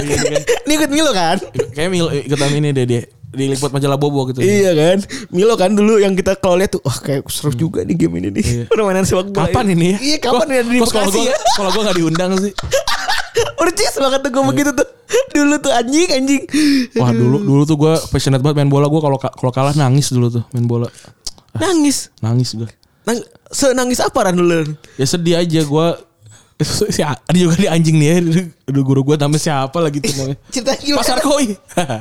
Ini ikut Milo kan?
Kayak mil ikutan ini deh dia diliput majalah Bobo gitu.
Iya kan? Milo kan dulu yang kita kalau lihat tuh wah kayak seru juga nih game ini nih. Permainan sepak bola.
Kapan ini ya?
Iya, kapan
Kok-
ya ada di
kok Kalau
Bekasi
gua
ya?
kalau gua nggak diundang sih.
Urcis banget tuh gue begitu tuh. Dulu tuh anjing anjing.
Wah dulu dulu tuh gue passionate banget main bola gue kalau ka- kalau kalah nangis dulu tuh main bola
Nangis.
nangis gue
Nang senangis apa Ran dulu?
ya sedih aja gue si ada juga di anjing nih ya Aduh, guru gue namanya siapa lagi tuh namanya
Ceritanya gimana?
pasar koi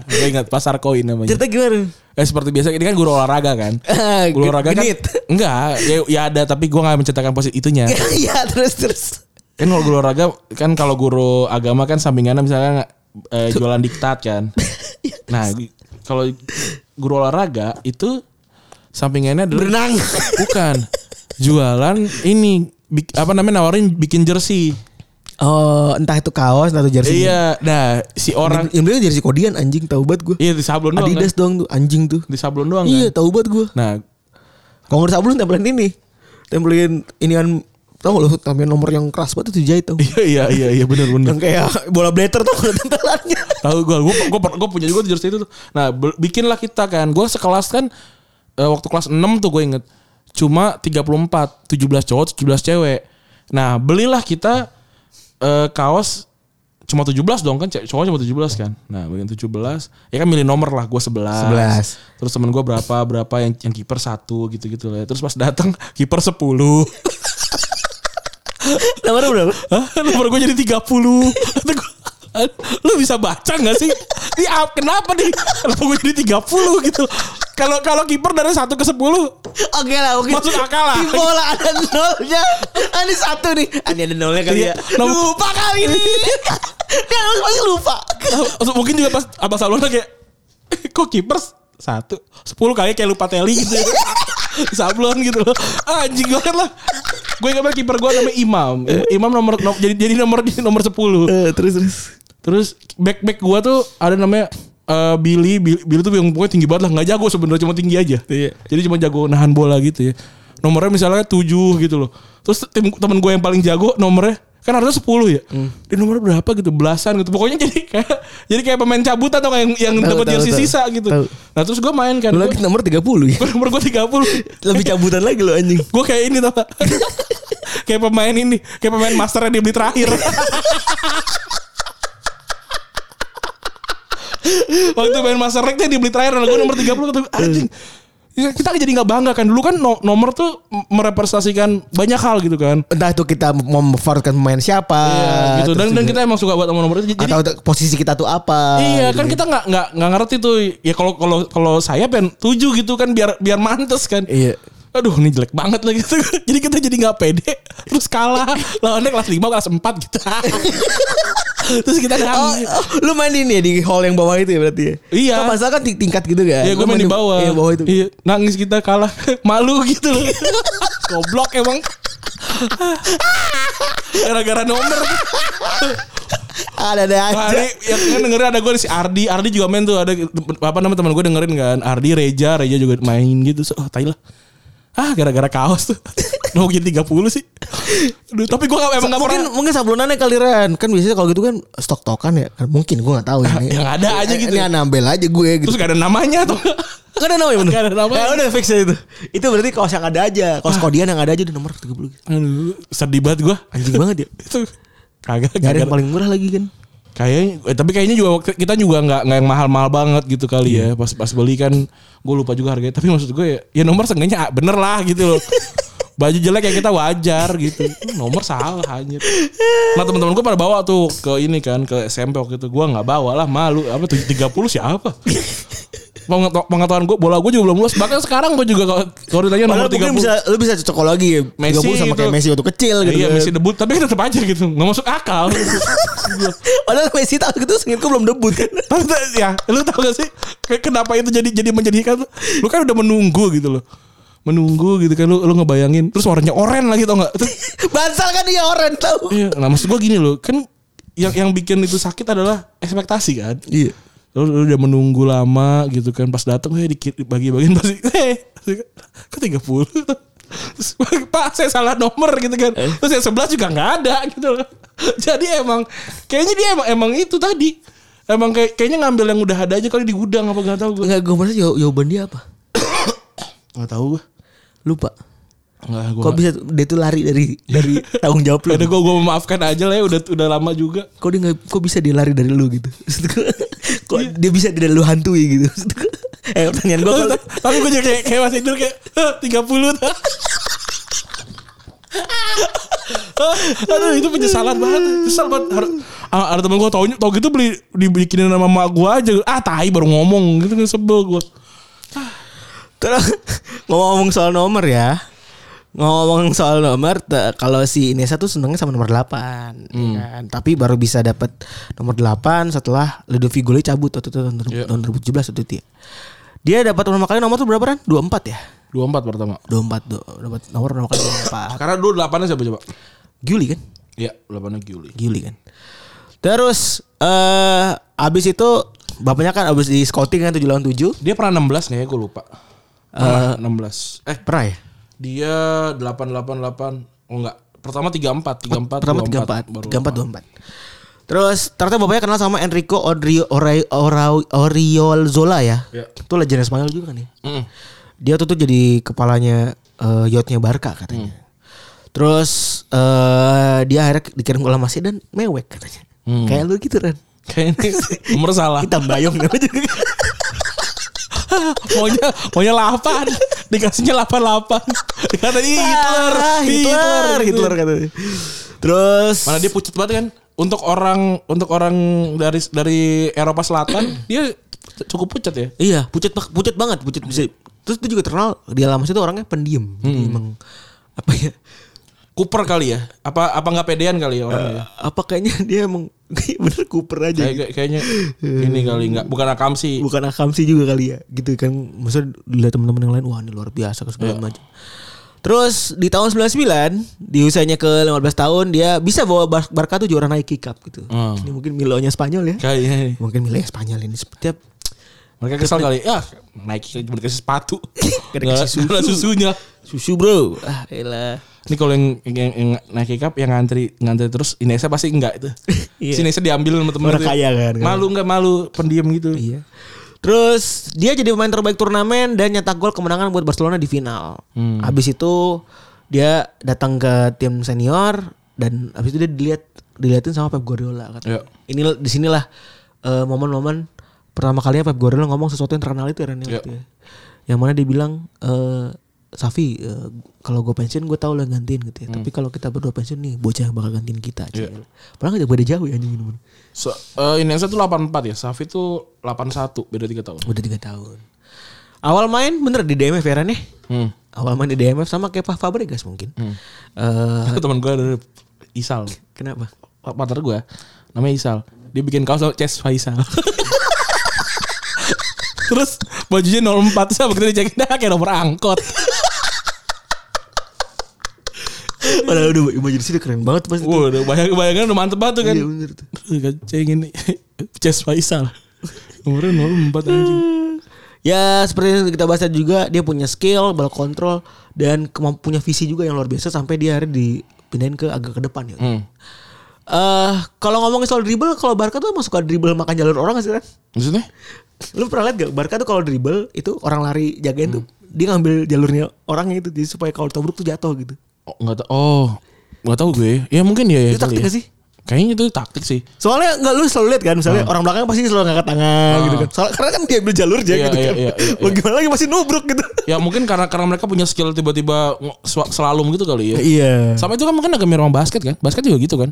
gue ingat pasar koi namanya
Cerita Iya. gimana?
eh seperti biasa ini kan guru olahraga kan
Ah,
guru olahraga kan
genit.
enggak ya, ya ada tapi gue nggak menceritakan posisi itunya
Iya terus terus.
kan kalau guru olahraga kan kalau guru agama kan sampingannya misalnya eh, jualan diktat kan nah gu- kalau guru olahraga itu sampingannya adalah
Berenang.
bukan jualan ini bik- apa namanya nawarin bikin jersey
Oh entah itu kaos entah itu jersey.
iya nah si orang
Yang beli jersey kodian anjing tahu banget gue.
iya di sablon doang kan?
Adidas doang tuh anjing tuh.
di sablon doang
Iya
kan
tahu banget gue.
nah
Kalau nggak sablon tempelin ini. Tempelin inian tahu loh tempelin nomor yang keras banget itu jahit tahu.
iya iya iya iya benar benar
yang kayak bola blatter tuh ada tempelannya.
tahu gue gue gue punya juga tuh jersey itu tuh nah be- bikinlah kita kan gue sekelas kan eh, waktu kelas 6 tuh gue inget cuma 34 17 cowok 17 cewek nah belilah kita eh, kaos cuma 17 dong kan ce- cowok cuma 17 kan nah bagian 17 ya kan milih nomor lah gue 11
11.
terus temen gue berapa berapa yang yang kiper satu gitu gitu lah terus pas datang kiper 10
Nomornya berapa?
Hah? Nomor gue jadi 30 Kata gua, Lu bisa baca gak sih? Ini ap- kenapa nih? Kenapa gue jadi 30 gitu Kalau kalau kiper dari 1 ke 10
Oke lah, oke.
Masuk akal lah.
Di bola ada nolnya. Ada satu nih. Ada ada nolnya kali
Iya.
ya. Lupa kali ini. Dia harus pasti lupa.
Maksud- Nah, Mungkin juga pas Abang Salona kayak "Eh, Kok kiper 1 10 kali kayak lupa teli gitu ya Sablon gitu loh Anjing banget lah Gue ingat banget kiper gue namanya Imam Imam nomor, nom- jadi, jadi nomor nomor 10
Eh, terus terus.
Terus back back gua tuh ada namanya eh, Billy, Billy, Billy tuh yang pokoknya tinggi banget lah, nggak jago sebenarnya cuma tinggi aja.
Iya.
Jadi cuma jago nahan bola gitu ya. Nomornya misalnya 7 gitu loh. Terus tim temen gue yang paling jago nomornya kan harusnya 10 ya.
Hmm.
Dia nomornya berapa gitu, belasan gitu. Pokoknya jadi kayak jadi kayak pemain cabutan atau yang yang
Tahu,
dapat
tahu,
jersey
tahu.
sisa gitu.
Tahu.
Nah, terus gue main kan.
Lu
Gua,
lagi nomor 30 ya.
gua nomor gue 30.
Lebih cabutan lagi lo anjing.
Gue kayak ini tau gak? kayak pemain ini, kayak pemain masternya dibeli terakhir. Waktu main master rank dia dibeli terakhir, gue nomor 30 kata gua, anjing. Ya, kita jadi nggak bangga kan dulu kan no- nomor tuh m- merepresentasikan banyak hal gitu kan
entah itu kita memforwardkan pemain siapa
Iya, gitu dan
terus
dan
juga-
kita emang suka buat sama nomor itu jadi
atau posisi kita tuh apa
iya
gitu.
kan kita nggak nggak nggak ngerti tuh ya kalau kalau kalau saya pengen tujuh gitu kan biar biar mantes kan
Iya.
aduh ini jelek banget lah gitu jadi kita jadi nggak pede terus kalah lawannya kelas lima kelas empat gitu terus kita
Oh,
nangis
oh, lu main di ini ya di hall yang bawah itu ya berarti ya?
Iya.
Oh, pasal kan ting- tingkat gitu kan.
Ya
Lu
gue main di bawah.
Iya, bawah itu.
Iya, nangis kita kalah. Malu gitu loh. Goblok emang. Gara-gara nomor.
Ada ada Ah, aja.
Hari yang kan dengerin ada gue si Ardi. Ardi juga main tuh ada apa nama teman gue dengerin kan. Ardi Reja, Reja juga main gitu. So, oh, tai lah. Ah, gara-gara kaos tuh. Mau jadi 30 sih. Aduh, tapi gue emang gak
mungkin
pernah
mungkin sablonannya kali Ren. Kan biasanya kalau gitu kan stok tokan ya. Kan mungkin gue nggak tahu ya. Ini-
Yang ada aja
ini-
gitu.
Ini nambel aja gue gitu.
terus gak ada namanya tuh.
Gak ada namanya Nah. bener.
Gak ada namanya.
Ya udah fix aja itu. Itu berarti kaos yang ada aja. Kaos kodian yang ada aja udah nomor 30.
Aduh, sedih banget gue.
Anjing banget ya.
Itu
Gak ada
kagak kagak-
yang paling murah lagi kan.
Kayaknya, eh, tapi kayaknya juga waktu- kita juga nggak nggak yang mahal-mahal banget gitu kali
Iya.
ya. Pas pas beli kan, gue lupa juga harganya. Tapi maksud gue ya, ya nomor seenggaknya ah, bener lah gitu loh. Baju jelek ya kita wajar gitu. Nomor salah anjir. Nah teman-teman gue pada bawa tuh ke ini kan ke SMP waktu itu. Gue nggak bawa lah malu. Apa tuh 30 siapa? Pengeto- Pengetahuan gue bola gue juga belum lulus. Bahkan sekarang gue juga kalau- kalau ditanya nomor
Padahal mungkin
30
bisa lu bisa cocokologi ya.
Messi
30 sama kayak
itu.
Messi waktu kecil gitu.
Iya
kan.
Messi debut tapi tetap aja gitu nggak masuk akal.
Padahal Messi tahun itu sengitku belum debut kan.
Tapi tuh, ya, lu tau gak sih ke- kenapa itu jadi jadi menjadikan lu kan udah menunggu gitu loh. Menunggu gitu kan lu lu ngebayangin terus warnanya oranye lagi tau gak? Terus,
Bansal kan dia orang tahu.
iya, nah maksud gua gini loh, kan yang yang bikin itu sakit adalah ekspektasi kan.
Iya.
Lu, lu udah menunggu lama gitu kan pas datang eh dikit bagi-bagiin pasti eh ke 30. Terus, Pak saya salah nomor gitu kan. Terus yang sebelah juga nggak ada gitu loh. Jadi emang kayaknya dia emang emang itu tadi. Emang kayak kayaknya ngambil yang udah ada aja kali di gudang apa nggak tahu gue.
Enggak gue merasa jaw- jawaban dia apa?
Nggak tahu gue.
Lupa.
Nggak gue.
Kok bisa dia tuh lari dari dari tanggung jawab lu?
Udah gue gue memaafkan aja lah ya udah udah lama juga.
Kok dia nggak- kok bisa dia lari dari lu gitu? Maksud gua, kok dia bisa dari lu hantui gitu? Maksud gua, eh pertanyaan gue kalau
Tapi gue juga kayak kayak masih tidur kayak tiga puluh. Aduh itu penyesalan banget Nyesal banget Har- ah, Ada temen gue tau, tau gitu beli Dibikinin sama mak gue aja Ah tai baru ngomong Gitu kan sebel gue
Terus ngomong-ngomong soal nomor ya. Ngomong soal nomor te- kalau si Inesa tuh senengnya sama nomor 8 ya
Hmm.
kan. Tapi baru bisa dapat nomor 8 setelah Ludovic Goli cabut waktu itu tahun,
Iya.
tahun 2017 waktu itu ya. Dia dapat pertama kali nomor tuh berapa kan? 24 ya?
24 pertama
24 do- dapat nomor pertama kali 24.
Karena dulu 8 siapa coba
Guli kan?
Iya 8 Giuli
Gili kan. Terus eh abis itu bapaknya kan abis di scouting kan 7 lawan 7.
Dia pernah 16 kayaknya gue lupa Pernah 16 Eh
Pernah ya?
Dia 888 Oh enggak. Pertama 34, 34,
Pertama 34,
24, baru
34, 24. Terus ternyata bapaknya kenal sama Enrico Odrio Orai- Orau- Oriolzola ya.
Iya.
Itu legenda Spanyol juga kan ya.
Mm.
Dia tuh tuh jadi kepalanya eh, yachtnya Barca katanya.
Hmm.
Terus eh dia akhirnya dikirim ke Masih dan mewek katanya.
Hmm.
Kayak lu gitu kan.
Kayaknya nomor salah.
Kita bayong namanya juga.
maunya maunya 8, dikasihnya 88. Dikata "Ih, Hitler, gitu."
Ah, Hitler, Hitler katanya. Terus
Mana dia pucat banget kan? Untuk orang untuk orang dari dari Eropa Selatan, dia cukup pucat ya.
Iya, pucat bak- pucat banget, pucat bisa. Terus dia juga terkenal di alamas itu orangnya pendiam. Jadi
Hmm.
Emang apa ya?
Cooper kali ya? Apa apa nggak pedean kali ya orangnya? ya?
Apa kayaknya dia emang bener Cooper aja.
Kayak,
gitu.
kayak- kayaknya ini kali nggak bukan akamsi.
Bukan akamsi juga kali ya. Gitu kan maksudnya dilihat teman-teman yang lain wah ini luar biasa ke
Iya.
segala macam. Terus di tahun 99 di usianya ke 15 tahun dia bisa bawa Bar- Barca tuh juara naik cup gitu.
Hmm.
Ini mungkin Milonya Spanyol ya.
Kayaknya
Mungkin Milo Spanyol ini setiap
mereka kesal kali. Ya, naik cuma dikasih sepatu.
Gak dikasih
Nggak- nggak ada susunya.
susu bro. Ah, elah.
Ini kalau yang, yang, yang naik kikap yang ngantri ngantri terus Inesa pasti enggak itu.
Iya.
Si Inesa diambil sama temen
Orang
tuh.
kaya kan, kan.
Malu enggak malu pendiam gitu.
Iya. Terus dia jadi pemain terbaik turnamen dan nyetak gol kemenangan buat Barcelona di final. Habis itu dia datang ke tim senior dan habis itu dia dilihat diliatin sama Pep Guardiola katanya.
Iya.
Ini di sinilah eh, momen-momen pertama kalinya Pep Guardiola ngomong sesuatu yang terkenal itu ya Ren, ya,
Iya.
waktu itu ya. yang mana dia bilang eh Safi eh, kalau gue pensiun gue tahu lo yang gantiin gitu ya tapi kalau kita berdua pensiun nih bocah yang bakal gantiin kita aja padahal nggak beda jauh ya anjing bener-bener.
So, eh, ini yang satu 84 ya. Safi tuh 81 beda 3 tahun.
udah tiga tahun awal main bener di DMF ya Ran ya?
Hmm.
awal main di DMF sama kayak Pak Fabregas mungkin Eh,
Teman gue ada Isal.
kenapa
Partner gue namanya Isal. Dia bikin kaos sama Ces Faisal. Terus bajunya 04 sama kita dicekin dah kayak nomor angkot.
padahal udah imajinasi udah keren banget pasti
Wah, udah bayang bayangan udah mantep banget tuh kan.
Iya, bener tuh.
Cengin Ces Faisal. Umurnya 04 anjing.
Ya seperti yang kita bahas tadi juga dia punya skill, ball control dan kemamp- punya visi juga yang luar biasa sampai dia akhirnya dipindahin ke agak ke depan ya. Eh
Hmm.
kalau ngomongin soal dribble, kalau Barca tuh emang suka dribble makan jalur orang nggak sih kan?
Maksudnya?
Lu pernah lihat gak Barca tuh kalau dribble itu orang lari jagain tuh
Hmm.
dia ngambil jalurnya orangnya itu jadi supaya kalau tabruk tuh jatuh gitu.
Oh, enggak tahu. Oh, enggak tahu gue. Ya mungkin
Itu
ya.
taktik gak sih?
Kayaknya itu taktik sih.
Soalnya nggak lu selalu lihat kan
Hmm.
misalnya orang belakang pasti selalu ngangkat tangan gitu kan. Soalnya karena kan dia ambil jalur aja gitu
Iya, iya,
kan.
iya, iya,
Mau gimana lagi masih nubruk gitu.
Ya mungkin karena karena mereka punya skill tiba-tiba ngo- swa- selalum gitu kali ya.
Iya.
Sama itu kan mungkin agak mirip sama basket kan? Basket juga gitu kan.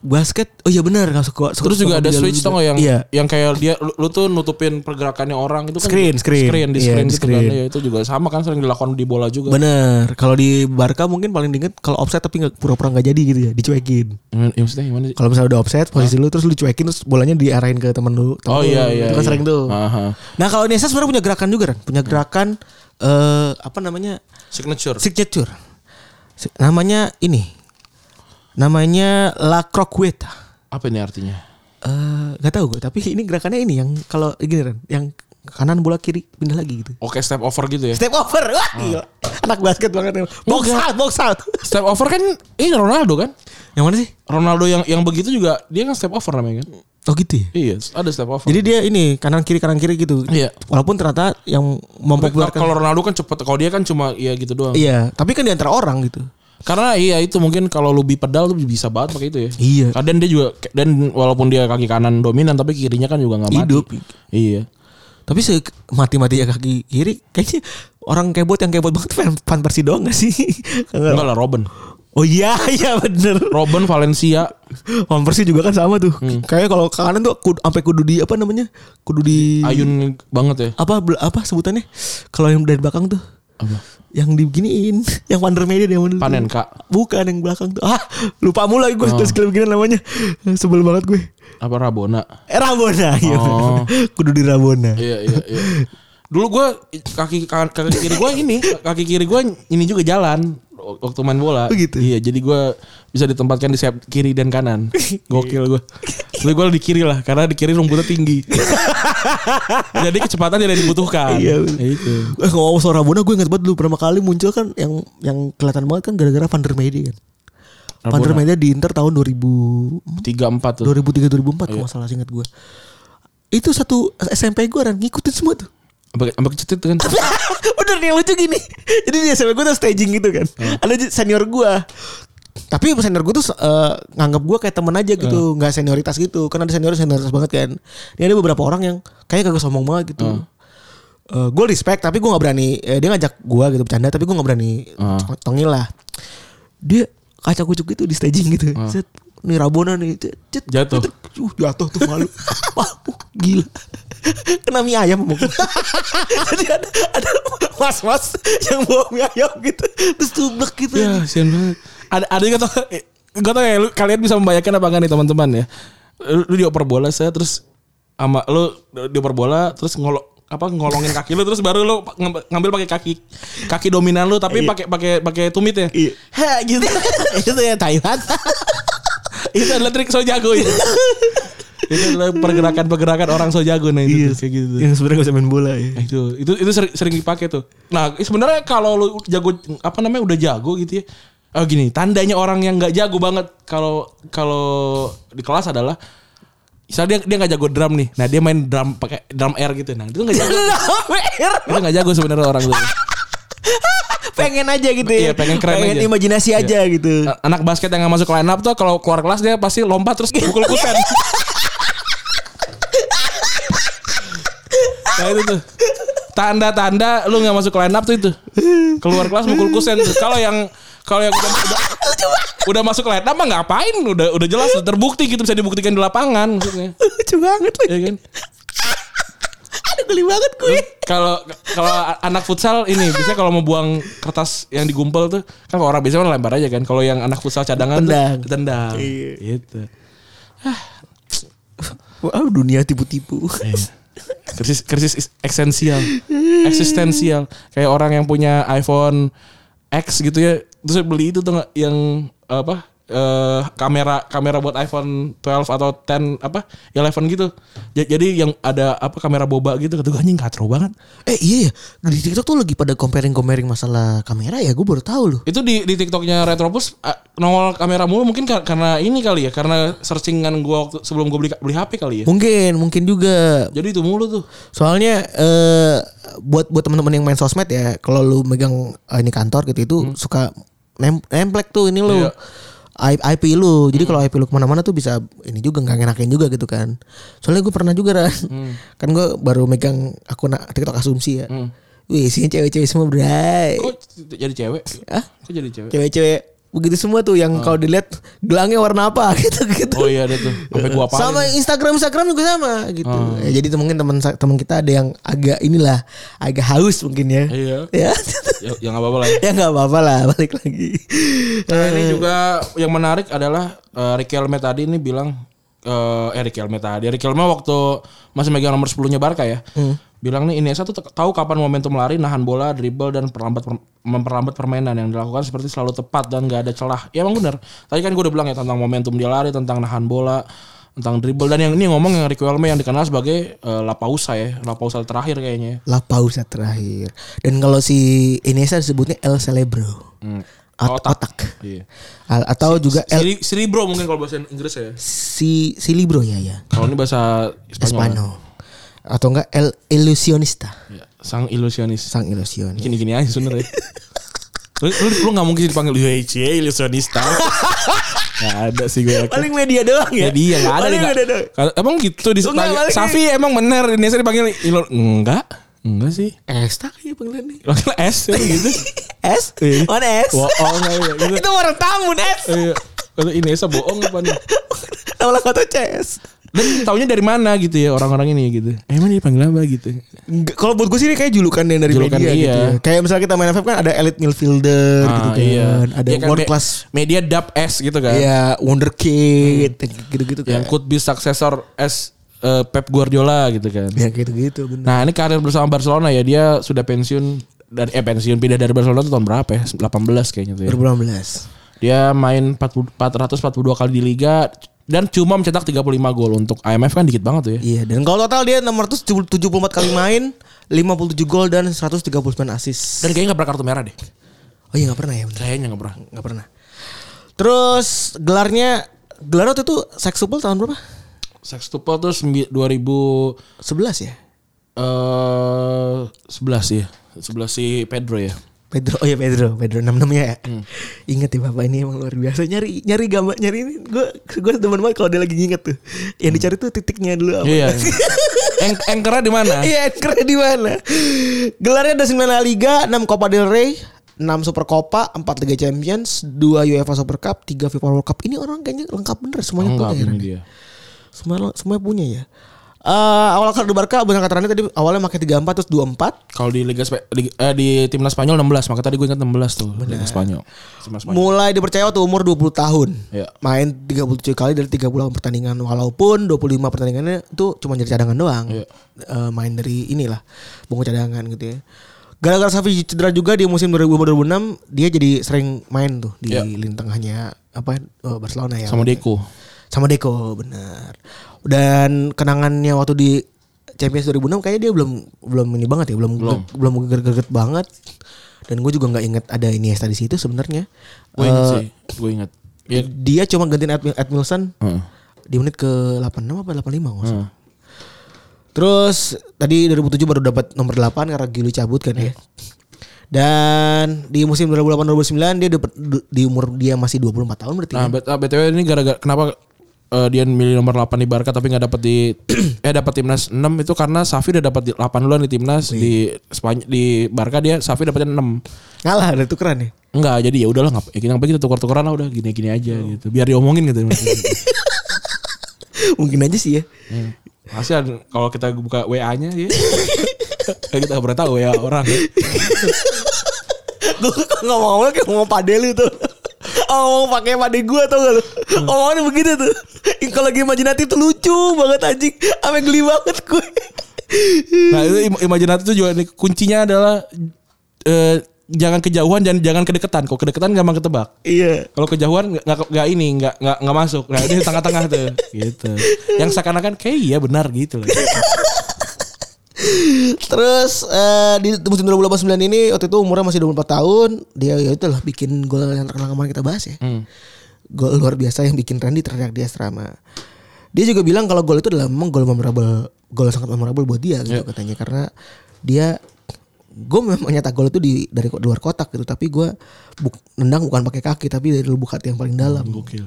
basket oh iya benar nggak suka, suka
Terus
suka
juga ada
mobil
switch
juga.
tau nggak yang
iya
yang kayak dia lu, lu tuh nutupin pergerakannya orang itu kan
Screen, screen.
screen di
Iya,
screen
di
gitu kan
screen.
ya itu juga sama kan sering dilakukan di bola juga.
bener kalau di Barca mungkin paling diinget kalau offset tapi nggak pura-pura nggak jadi gitu ya dicuekin
Gimana- Ya, maksudnya gimana sih?
kalau misalnya udah offset posisi lu terus lu cuekin terus bolanya diarahin ke temen lu temen
Oh
lu.
iya iya.
itu kan
iya.
sering tuh
Aha.
nah kalau Nesta sebenarnya punya gerakan juga kan punya gerakan eh apa namanya
Signature.
signature Si- namanya ini namanya la croqueta
Apa ini artinya?
eh gak tahu gue tapi ini gerakannya ini yang kalau gini kan yang kanan bola kiri pindah lagi gitu
Oke, step over gitu ya.
Step over. Wah, gila.
Hmm.
Anak basket banget.
Iya,
Box
Enggak.
out, box out.
Step over kan ini Ronaldo kan?
Yang mana sih?
Ronaldo yang yang begitu juga dia kan step over namanya kan?
Oh gitu ya.
Iya, ada step over.
Jadi dia ini kanan kiri kanan kiri gitu.
Iya.
Walaupun ternyata yang
Nah,
mempopulerkan
kalau Ronaldo kan cepet, kalau dia kan cuma ya gitu doang.
Iya, tapi kan di antara orang gitu.
Karena iya itu mungkin kalau lebih pedal tuh bisa banget pakai itu ya.
Iya.
Kadang dia juga dan walaupun dia kaki kanan dominan tapi kirinya kan juga nggak mati.
Hidup.
Iya.
Tapi se mati-matinya kaki kiri kayaknya orang kebot yang kebot banget fan, fan Persi doang gak sih?
Enggak lah Robin.
oh iya, iya bener.
Robin Valencia.
Fan Persi juga kan sama tuh.
Hmm.
Kayaknya kalau ke kanan tuh kudu, sampai kudu di apa namanya? Kudu di
Ayun banget ya.
apa bel- apa sebutannya? Kalau yang dari belakang tuh
Apa?
yang diginiin, yang Wonder Media yang mana?
Panen kak.
Bukan yang belakang tuh. Ah, lupa mula
Oh.
gue terus skill begini namanya. Sebel banget gue.
Apa Rabona?
Eh, Rabona. Iya,
Oh.
Kudu di Rabona.
Iya iya iya. Dulu gue kaki kan- kaki kiri gue ini kaki kiri gue ini juga jalan waktu main bola.
Oh gitu.
Iya jadi gue bisa ditempatkan di sayap kiri dan kanan. Gokil gue. Tapi gue di kiri lah karena di kiri rumputnya tinggi. jadi kecepatan tidak dibutuhkan.
Iya.
Ya, Itu.
Eh, kalau ngomong soal Rabona gue inget banget dulu pertama kali muncul kan yang yang kelihatan banget kan gara-gara Van der Meide kan. Van der Meide di Inter tahun 2000
Tiga empat tuh. Iya.
2003 2004 kalau nggak salah ingat gue. Itu satu SMP gue kan ngikutin semua tuh.
Sampai sampai kecetit kan.
Bener nih yang lucu gini Jadi di SMA gue tuh staging gitu kan Ada j- senior gue Tapi senior gue tuh eh, Nganggap gue kayak temen aja gitu nggak senioritas gitu Karena ada senior senioritas banget kan Ini ada beberapa orang yang Kayaknya kagak sombong banget gitu Eh, Gue respect tapi gue gak berani eh, Dia ngajak gue gitu bercanda Tapi gue gak berani Tongil lah Dia kaca kucuk gitu di staging gitu Set, Nih Rabona nih cet, cet,
Jatuh.
cet. Uh, jatuh tuh malu. Wah, uh, gila. Kena mie ayam sama gua. Jadi ada, ada mas-mas yang bawa mie ayam gitu. Terus tublek gitu.
Ya, sian banget. Ada ada yang tau Gak tau ya lu- kalian bisa membayangkan apa enggak nih teman-teman ya. Lu, lu dioper bola saya terus sama lu dioper bola terus ngolok apa ngolongin kaki lu terus baru lu ngambil- ngambil pakai kaki kaki dominan lu tapi pakai pakai pakai tumit ya.
Iya.
Ha, gitu.
Itu ya Thailand.
Itu adalah trik so jago ya. itu adalah pergerakan-pergerakan orang so jago nah itu tuh, kayak gitu.
Yang sebenarnya gak bisa main bola ya.
Nah, itu itu itu sering, sering dipakai tuh. Nah, sebenarnya kalau lu jago apa namanya udah jago gitu ya. Oh gini, tandanya orang yang nggak jago banget kalau kalau di kelas adalah misalnya dia dia nggak jago drum nih. Nah, dia main drum pakai drum air gitu. Nah, itu nggak jago. itu nggak jago sebenarnya orang tuh.
pengen aja gitu ya.
Iya, pengen keren aja. Iya. Ah.
imajinasi aja gitu.
Eh, Anak basket yang nggak masuk line up tuh kalau keluar kelas dia pasti lompat terus pukul kusen. nah itu tuh. tanda-tanda lu nggak masuk line up tuh itu. Keluar kelas mukul kusen. Kalau yang kalau yang udah, udah, udah masuk line up mah ngapain? Udah udah jelas terbukti gitu bisa dibuktikan di lapangan maksudnya.
Lucu banget lagi.
Iya kan?
Aduh geli banget gue.
Eh. Kalau kalau anak futsal ini biasanya kalau mau buang kertas yang digumpel tuh kan kalau orang biasanya mah lempar aja kan. Kalau yang anak futsal cadangan
Tendang.
tuh tendang.
Iya.
Gitu.
Wow dunia tipu-tipu.
Iya. krisis krisis is- esensial eksistensial kayak orang yang punya iPhone X gitu ya terus dia beli itu tuh nggak, yang apa eh kamera kamera buat iPhone 12 atau 10 apa 11 gitu Ja- jadi yang ada apa kamera boba gitu kata gue anjing katro banget
eh iya ya. Di TikTok tuh lagi pada comparing-comparing masalah kamera ya. Gue baru tahu loh.
itu di di TikToknya Retropus ah, nongol kamera mulu mungkin kar- karena ini kali ya karena searchingan gua waktu, sebelum gua beli beli HP kali ya
Mungkin, mungkin juga.
jadi itu mulu tuh
Soalnya eh buat buat teman-teman yang main sosmed ya, kalau lu megang eh, ini kantor gitu itu suka nem nemplek tuh ini lu.
Iya.
I- IP lu. Jadi kalau IP lu kemana-mana tuh bisa ini juga nggak ngenakin juga gitu kan. Soalnya gue pernah juga kan. Kan gue baru megang akun TikTok asumsi ya. Wih, isinya cewek-cewek semua bray.
kok Oh, jadi cewek kok jadi cewek
Cewek-cewek begitu semua tuh yang kalau dilihat gelangnya warna apa gitu gitu.
oh iya ada tuh sampai gua apa Ah.
Sama Instagram Instagram juga sama gitu. Ya, jadi mungkin teman teman kita ada yang agak inilah agak haus mungkin ya.
iya
Ya.
ya, ya nggak apa-apa lah ya.
ya nggak apa-apa lah balik lagi. Eh,
Nah, ini juga yang menarik adalah eh, Ricky Elme tadi ini bilang eh, eh Ricky Elme tadi Ricky Elme waktu masih megang nomor 10-nya Barca ya. Bilang nih Iniesta tuh t- tahu kapan momentum lari, nahan bola, dribble dan perlambat per- memperlambat permainan yang dilakukan seperti selalu tepat dan nggak ada celah. Ya emang bener. Tadi kan gue udah bilang ya tentang momentum dia lari, tentang nahan bola, tentang dribble dan yang ini ngomong yang Ricky Elme yang dikenal sebagai eh, La Pausa ya, La Pausa terakhir kayaknya. ya.
La pausa terakhir. Dan kalau si Iniesta disebutnya El Celebro. At- otak.
Hmm. Iya.
Al- atau juga El
Siri, Siribro mungkin kalau bahasa Inggris ya.
si si Libro ya ya.
Kalau ini bahasa Spanyol.
Espanyol. Atau enggak El Ilusionista.
Ya, sang ilusionis.
Sang ilusionis.
Gini-gini aja sebenernya. lu, lu, lu gak mungkin dipanggil UHC ilusionista. gak ada sih gue yakin.
Paling media doang ya.
Ya dia gak ada.
Paling
nih,
media
gak-
doang.
Kalau- Emang gitu dipanggil.
paling-
Safi emang bener. Ini saya dipanggil ilu. Enggak. Enggak sih.
Esta kayaknya Eh, panggilannya.
Panggil S ya, gitu.
S?
Iya.
Mana S?
Bohong aja gitu.
itu orang tamu S.
Iya. Kalau Inesa bohong apa nih?
Nama lagu atau CS?
Dan taunya dari mana gitu ya orang-orang ini gitu. Emang dia dipanggil apa gitu.
Nggak, Kalau buat gue sih ini kayak julukan yang dari
Julukan
media
iya.
gitu ya. Kayak misalnya kita main FF kan ada elite midfielder gitu
Ah,
kan.
iya.
Ada
Dia kan
world
me-
class.
Media dub S gitu kan.
Ya wonder kid
Hmm.
gitu-gitu kan.
yang could be successor as eh, Pep Guardiola gitu kan.
Ya gitu-gitu benar.
Nah, ini karir bersama Barcelona ya. Dia sudah pensiun dari eh pensiun pindah dari Barcelona tuh tahun berapa ya? 18 kayaknya tuh ya.
2018.
Dia main 40 442 kali di liga dan cuma mencetak 35 gol untuk AMF kan dikit banget tuh ya.
Iya, dan kalau total dia 674 kali main, 57 gol dan 139 assist.
Dan kayaknya gak pernah kartu merah deh.
Oh iya nggak pernah ya bener.
Kayaknya gak pernah.
Nggak pernah. Terus gelarnya gelar waktu itu sextuple tahun berapa?
Sextuple tuh sembi- 2000
11 ya.
eh 11 ya. 11 si Pedro ya.
Pedro, oh ya Pedro, Pedro 66 ya.
Hmm.
Ingat ya bapak ini emang luar biasa nyari nyari gambar nyari ini gue gue teman banget kalau dia lagi nginget tuh. Yang dicari tuh titiknya dulu apa.
Iya. Ang anchor-nya di mana?
Oh, Iya, keren di mana? Gelarnya ada 9 La Liga, 6 Copa del Rey, 6 Super Copa, 4 Liga Champions, 2 UEFA Super Cup, 3 FIFA World Cup. Ini orang kayaknya lengkap bener semuanya
Oh, Enggak
punya. ya,
ini
Ran.
dia.
Semua semua punya ya. Eh awal karir di Barca benar kata Rani tadi awalnya pakai 34 terus 24
Kalau di Liga, Spa- Liga- eh, di timnas Spanyol 16, maka tadi gue ingat 16 tuh Liga Spanyol. Timnas Spanyol.
Mulai dipercaya waktu umur 20 tahun.
Iya.
Main 37 kali dari 38 pertandingan walaupun 25 pertandingannya itu cuma jadi cadangan doang.
Iya.
Eh, main dari inilah bungkus cadangan gitu ya. Gara-gara Safi cedera juga di musim 2005-2006 dia jadi sering main tuh di
Iya.
lini tengahnya apa eh, Barcelona ya.
Sama Deco.
Sama Deco benar. Dan kenangannya waktu di Champions 2006 kayaknya dia belum belum ini banget ya, belum belum, belum greget-greget banget. Dan gue juga nggak inget ada Iniesta di situ sebenarnya.
Gue ingat sih, gue Eh, ingat. Ya,
Dia cuma gantiin Ed, Ed Milson
heeh.
di menit ke 86 apa 85 nggak salah. Terus tadi 2007 baru dapat nomor 8 karena Gili cabut kan ya. Dan di musim 2008-2009 dia dapet- di umur dia masih 24 tahun berarti.
Nah,
kan?
bet- ah, BTW ini gara-gara kenapa eh, dia milih nomor 8 di Barca tapi nggak dapat di eh dapat timnas 6 itu karena Safi udah dapat di- 8 duluan di timnas di Spanyol di Barca dia Safi dapatnya 6.
Ngalah ada tukeran nih.
Enggak, jadi ya udahlah enggak ya, apa kita tukar-tukaran lah udah gini-gini aja gitu. Biar diomongin gitu.
Mungkin aja sih ya.
Kasihan kalau kita buka WA-nya ya. Kayak kita nggak pernah tahu WA orang. ya.
Gue ngomong-ngomong kayak ngomong pade lu tuh. Oh, ngomong pakai pade gua tau gak lu? Omongannya begitu tuh. Ih, Kalau lagi imajinatif tuh lucu banget anjing. Sampai geli banget gue.
Nah, itu im- imajinatif itu juga nih, kuncinya adalah eh, jangan kejauhan dan jangan kedekatan. Kalau kedekatan gampang ketebak.
Iya.
Kalau kejauhan nggak- nggak nggak ini nggak nggak nggak masuk. Nah ini tengah-tengah tuh, gitu. Yang seakan-akan kayak iya benar gitu loh.
Terus eh, di musim 2089 ini waktu itu umurnya masih 24 tahun, dia ya itulah bikin gol yang terkenal kemarin kita bahas ya. Gol luar biasa yang bikin Randy terdengar di asrama. Dia juga bilang kalau gol itu adalah memang gol memorable, gol sangat memorable buat dia gitu katanya karena dia gue memang nyetak gol itu di dari luar kotak gitu tapi gue buk, nendang bukan pakai kaki tapi dari lubuk hati yang paling dalam.
Gokil.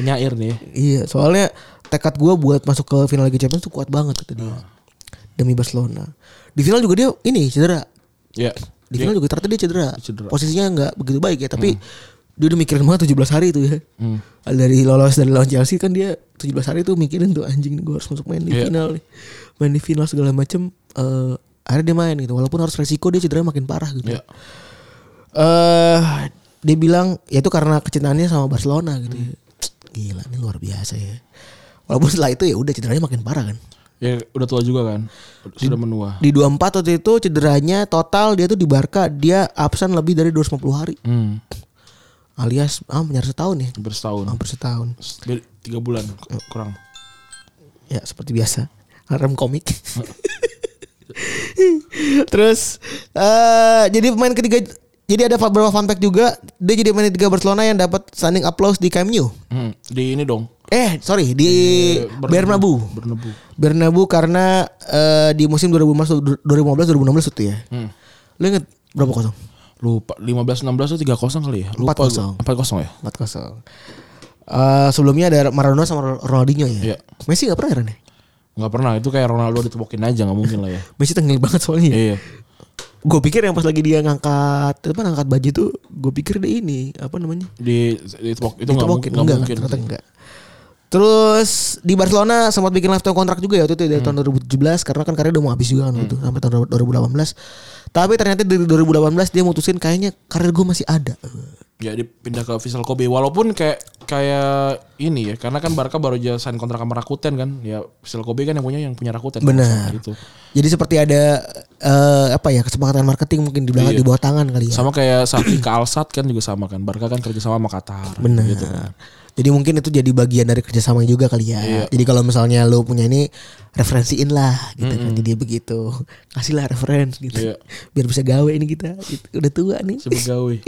Penyair nih. ya.
Iya, soalnya tekad gue buat masuk ke final Liga Champions tuh kuat banget kata
Ah.
dia. Demi Barcelona. Di final juga dia ini cedera.
Ya.
Di final juga ternyata dia cedera.
Cedera. Hmm.
Posisinya nggak begitu baik ya, tapi dia udah mikirin banget 17 hari itu ya. Dari lolos dari lawan Chelsea kan dia 17 hari itu mikirin tuh anjing gue harus masuk main di
Iya.
final nih. Main di final segala macem. Eh akhirnya dia main gitu. Walaupun harus resiko dia cedera makin parah gitu.
Ya.
Eh dia bilang ya itu karena kecintaannya sama Barcelona gitu. ya. Gila ini luar biasa ya. Walaupun setelah itu ya udah cederanya makin parah kan.
Ya udah tua juga kan. Sudah menua.
Di 24 waktu itu cederanya total dia tuh di Barca dia absen lebih dari 250 hari.
Hmm.
Alias ah menyar setahun ya.
Hampir setahun.
Hampir setahun.
Be- Tiga bulan k- kurang.
Ya seperti biasa. Harem komik. Terus eh jadi pemain ketiga jadi ada beberapa fun fact juga dia jadi pemain ketiga Barcelona yang dapat standing applause di Camp Nou.
Hmm. Di ini dong.
Eh, sorry
Iya,
di Bernabeu.
Bernebu.
Bernabeu karena eh, di musim 2015 2015 2016 itu ya.
Hmm.
Lu inget berapa kosong?
Lupa 15 16 tuh 3-0 kali ya. Lupa
4-0.
gua. 4-0 ya.
4 kosong. Eh sebelumnya ada Maradona sama Ronaldinho ya.
Iya.
Messi gak pernah heran ya?
Enggak pernah itu kayak Ronaldo ditepokin aja nggak mungkin lah ya.
Messi tengil banget soalnya.
Iya.
Gue pikir yang pas lagi dia ngangkat apa ngangkat baju tuh gue pikir dia ini apa namanya?
Di ditepok itu
Itu
nggak mungkin.
mungkin
Nggak
enggak,
mungkin.
ternyata enggak. Terus di Barcelona sempat bikin lifetime kontrak juga ya waktu itu dari
Hmm.
tahun 2017 karena kan karirnya udah mau habis juga kan waktu itu sampai tahun 2018. Tapi ternyata dari 2018 dia mutusin kayaknya karir gue masih ada.
Ya dipindah ke Vissel Kobe walaupun kayak kayak ini ya karena kan Barca baru aja sign kontrak sama Rakuten kan. Ya Vissel Kobe kan yang punya yang punya Rakuten.
Benar.
Gitu.
Jadi seperti ada eh, apa ya kesepakatan marketing mungkin di
Iya.
belakang di bawah tangan kali ya.
Sama kayak Safi ke Alsat kan juga sama kan. Barca kan kerja sama sama Qatar. gitu.
Benar. Gitu. Jadi mungkin itu jadi bagian dari kerjasama juga kali ya.
Iya.
Jadi kalau misalnya lo punya ini referensiin lah gitu kan. Jadi begitu. Kasihlah referensi gitu.
Iya.
Biar bisa gawe ini kita. Gitu. Udah tua nih.
Si pegawai.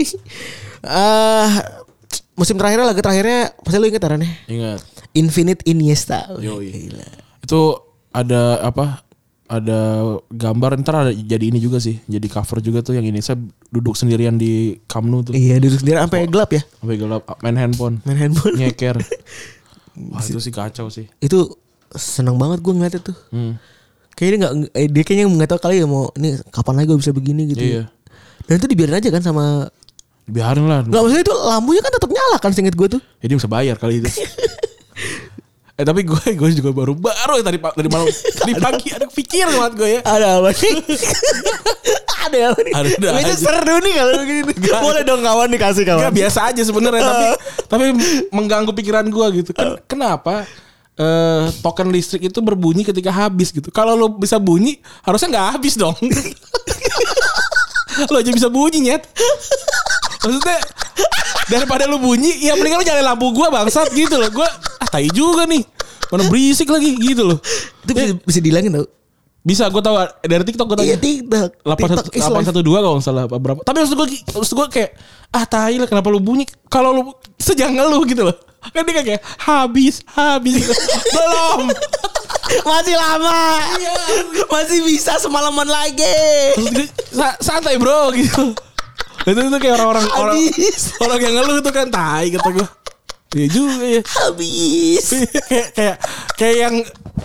Eh musim terakhirnya laga terakhirnya pasti lu inget Aran ya?
Ingat.
Infinite Iniesta.
Yoi. Itu ada apa? Ada gambar ntar ada jadi ini juga sih, jadi cover juga tuh yang ini saya duduk sendirian di Kamnu tuh
Iya duduk sendiri sampai gelap ya
sampai gelap main handphone,
main handphone.
nyeker. Wah itu sih kacau sih.
Itu senang banget gue ngeliatnya tuh.
Hmm.
Kayaknya nggak eh, dia kayaknya nggak tahu kali ya mau ini kapan lagi gue bisa begini gitu.
Iya.
Dan itu dibiarin aja kan sama
Biarin lah.
nggak maksudnya itu lampunya kan tetap nyala kan singkat gue tuh.
Jadi bisa bayar kali itu. eh tapi gue gue juga baru baru tadi pa- tadi malam tadi pagi ada pikir banget gue ya.
Ada apa nih? ada apa nih?
Ada- ada
Kayaknya
aja.
seru nih kalau begini. Boleh dong kawan dikasih kawan.
Enggak biasa aja sebenarnya tapi tapi mengganggu pikiran gua gitu. Ken- kenapa eh token listrik itu berbunyi ketika habis gitu. Kalau lo bisa bunyi harusnya nggak habis dong. lo aja bisa bunyi nyet. Maksudnya daripada lo bunyi ya mendingan lo nyalain lampu gua bangsat gitu loh. Gua ah tai juga nih. Mana berisik lagi gitu loh.
Itu bisa, bisa dihilangin tau.
Bisa gua tahu dari TikTok gua tahu.
Iya TikTok. TikTok is life.
812 kalau nggak salah apa berapa. Tapi maksud gue maksud gue kayak ah tai lah kenapa lu bunyi kalau lu sejanggal lu gitu loh. Kan dia kayak habis habis gitu. Belum.
Masih lama.
Iya.
Masih bisa semalaman lagi.
Terus dia, "Sa- santai bro gitu. Itu itu kayak orang-orang orang
Habis.
orang yang ngeluh itu kan tai kata gue. Iya juga ya.
habis
kayak kayak kayak yang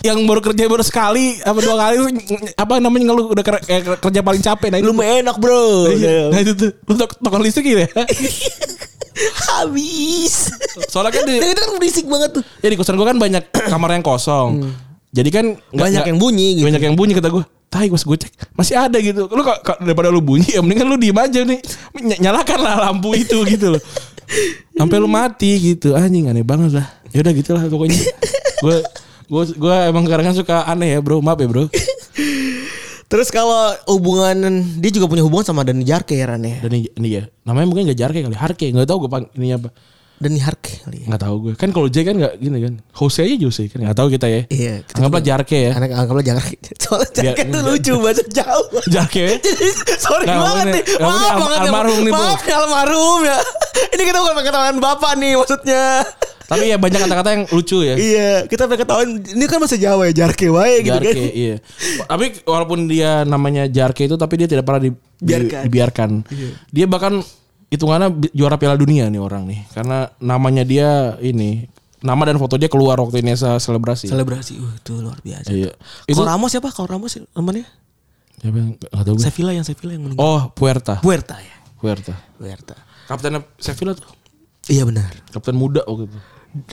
yang baru kerja baru sekali apa dua kali terus ny- apa namanya ngeluh udah ker- kayak kerja, paling capek nah itu
belum enak bro Ya,
Iya, nah
Udah.
itu tuh lu tok- tokoh listrik gitu ya
habis
soalnya kan di,
Dan itu kan berisik banget tuh
ya di kosan gua kan banyak kamar yang kosong jadi kan nggak-
Hmm. banyak
nggak-
yang bunyi gitu
banyak yang bunyi kata gue tai pas gue cek masih ada gitu lu kok kok daripada lu bunyi ya mendingan lu diem aja nih Ny- nyalakan lah lampu itu gitu loh sampai lu mati gitu anjing aneh banget lah ya udah gitulah pokoknya gue gue gue emang kadang suka aneh ya bro maaf ya bro
terus kalau hubungan dia juga punya hubungan sama Dani Jarke ya Ran ya
dan ini, ini ya namanya mungkin gak jarke kali harke nggak tahu gue pang ini apa
Dani Harke kali ya
nggak tahu gue kan kalau J kan nggak gini kan Jose aja Jose kan nggak tahu kita ya
Iya, kita
anggaplah jarke ya
anak anggaplah Jarke soalnya Jarke
Biar-
tuh lucu bahasa jauh
jarke ya?
Jadi, sorry
Nggak,
banget
maksudnya-
nih.
nggak,
Maaf
maksudnya
banget
al-
ya.
almarhum nih, Bu.
Maaf ya almarhum ya. Ini kita bukan pakai ketahuan bapak nih maksudnya.
tapi ya banyak kata-kata yang lucu ya
iya, kita pakai ketahuan ini kan bahasa Jawa ya, jarke wae gitu
Jarke,
kan.
iya. Tapi walaupun dia namanya Jarke itu, tapi dia tidak pernah di, di-
Biarkan. Iya.
dibiarkan. Dia bahkan hitungannya bi- juara Piala Dunia nih orang nih, karena namanya dia ini, nama dan foto dia keluar waktu Inesa selebrasi.
Selebrasi, uh, itu luar biasa.
Iya.
Itu
Itu
Ramos siapa? Kalau Ramos namanya
siapa yang- nggak tahu gue.
Sevilla yang Sevilla yang meninggal.
Oh, Puerta.
Puerta ya.
Puerta.
Puerta.
Kaptennya Sevilla tuh,
Iya benar.
kapten muda waktu itu.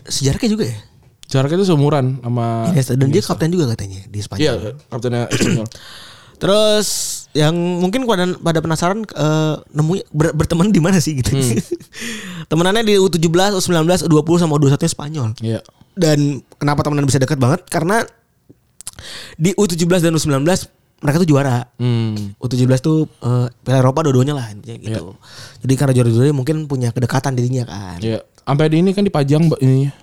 Sejarahnya juga ya.
Jarke itu seumuran sama
Iniesta. dan dia kapten juga katanya di Spanyol.
Iya, kaptennya Espanyol.
Terus yang mungkin pada pada penasaran eh, nemu ber- berteman di mana sih gitu. Temenannya di U17, U19, U20 sama U21 -nya Spanyol.
Iya.
Dan kenapa temenan bisa dekat banget? Karena di U17 dan U19 mereka tuh juara.
Hmm.
U17 tuh eh, Piala Eropa dua-duanya lah intinya gitu. Jadi karena juara-juaranya mungkin punya kedekatan dirinya kan. Iya
Iya. Sampai di ini kan dipajang ba- ininya.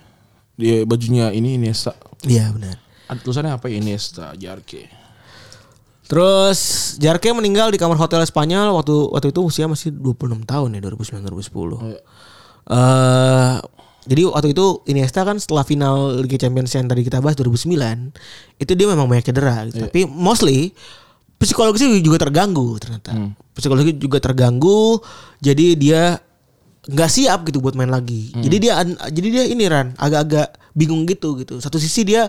Di bajunya ini Iniesta.
Iya, benar.
Ada tulisannya apa ya? Iniesta Jarke.
Terus Jarke meninggal di kamar hotel Spanyol waktu waktu itu usia masih 26 tahun ya 2009 2010. Eh jadi waktu itu Iniesta kan setelah final Liga Champions yang tadi kita bahas 2009 itu dia memang banyak cedera gitu. Tapi mostly psikologisnya juga terganggu ternyata. Psikologi juga terganggu jadi dia nggak siap gitu buat main lagi. Jadi dia an- jadi dia ini Ran agak-agak bingung gitu gitu. Satu sisi dia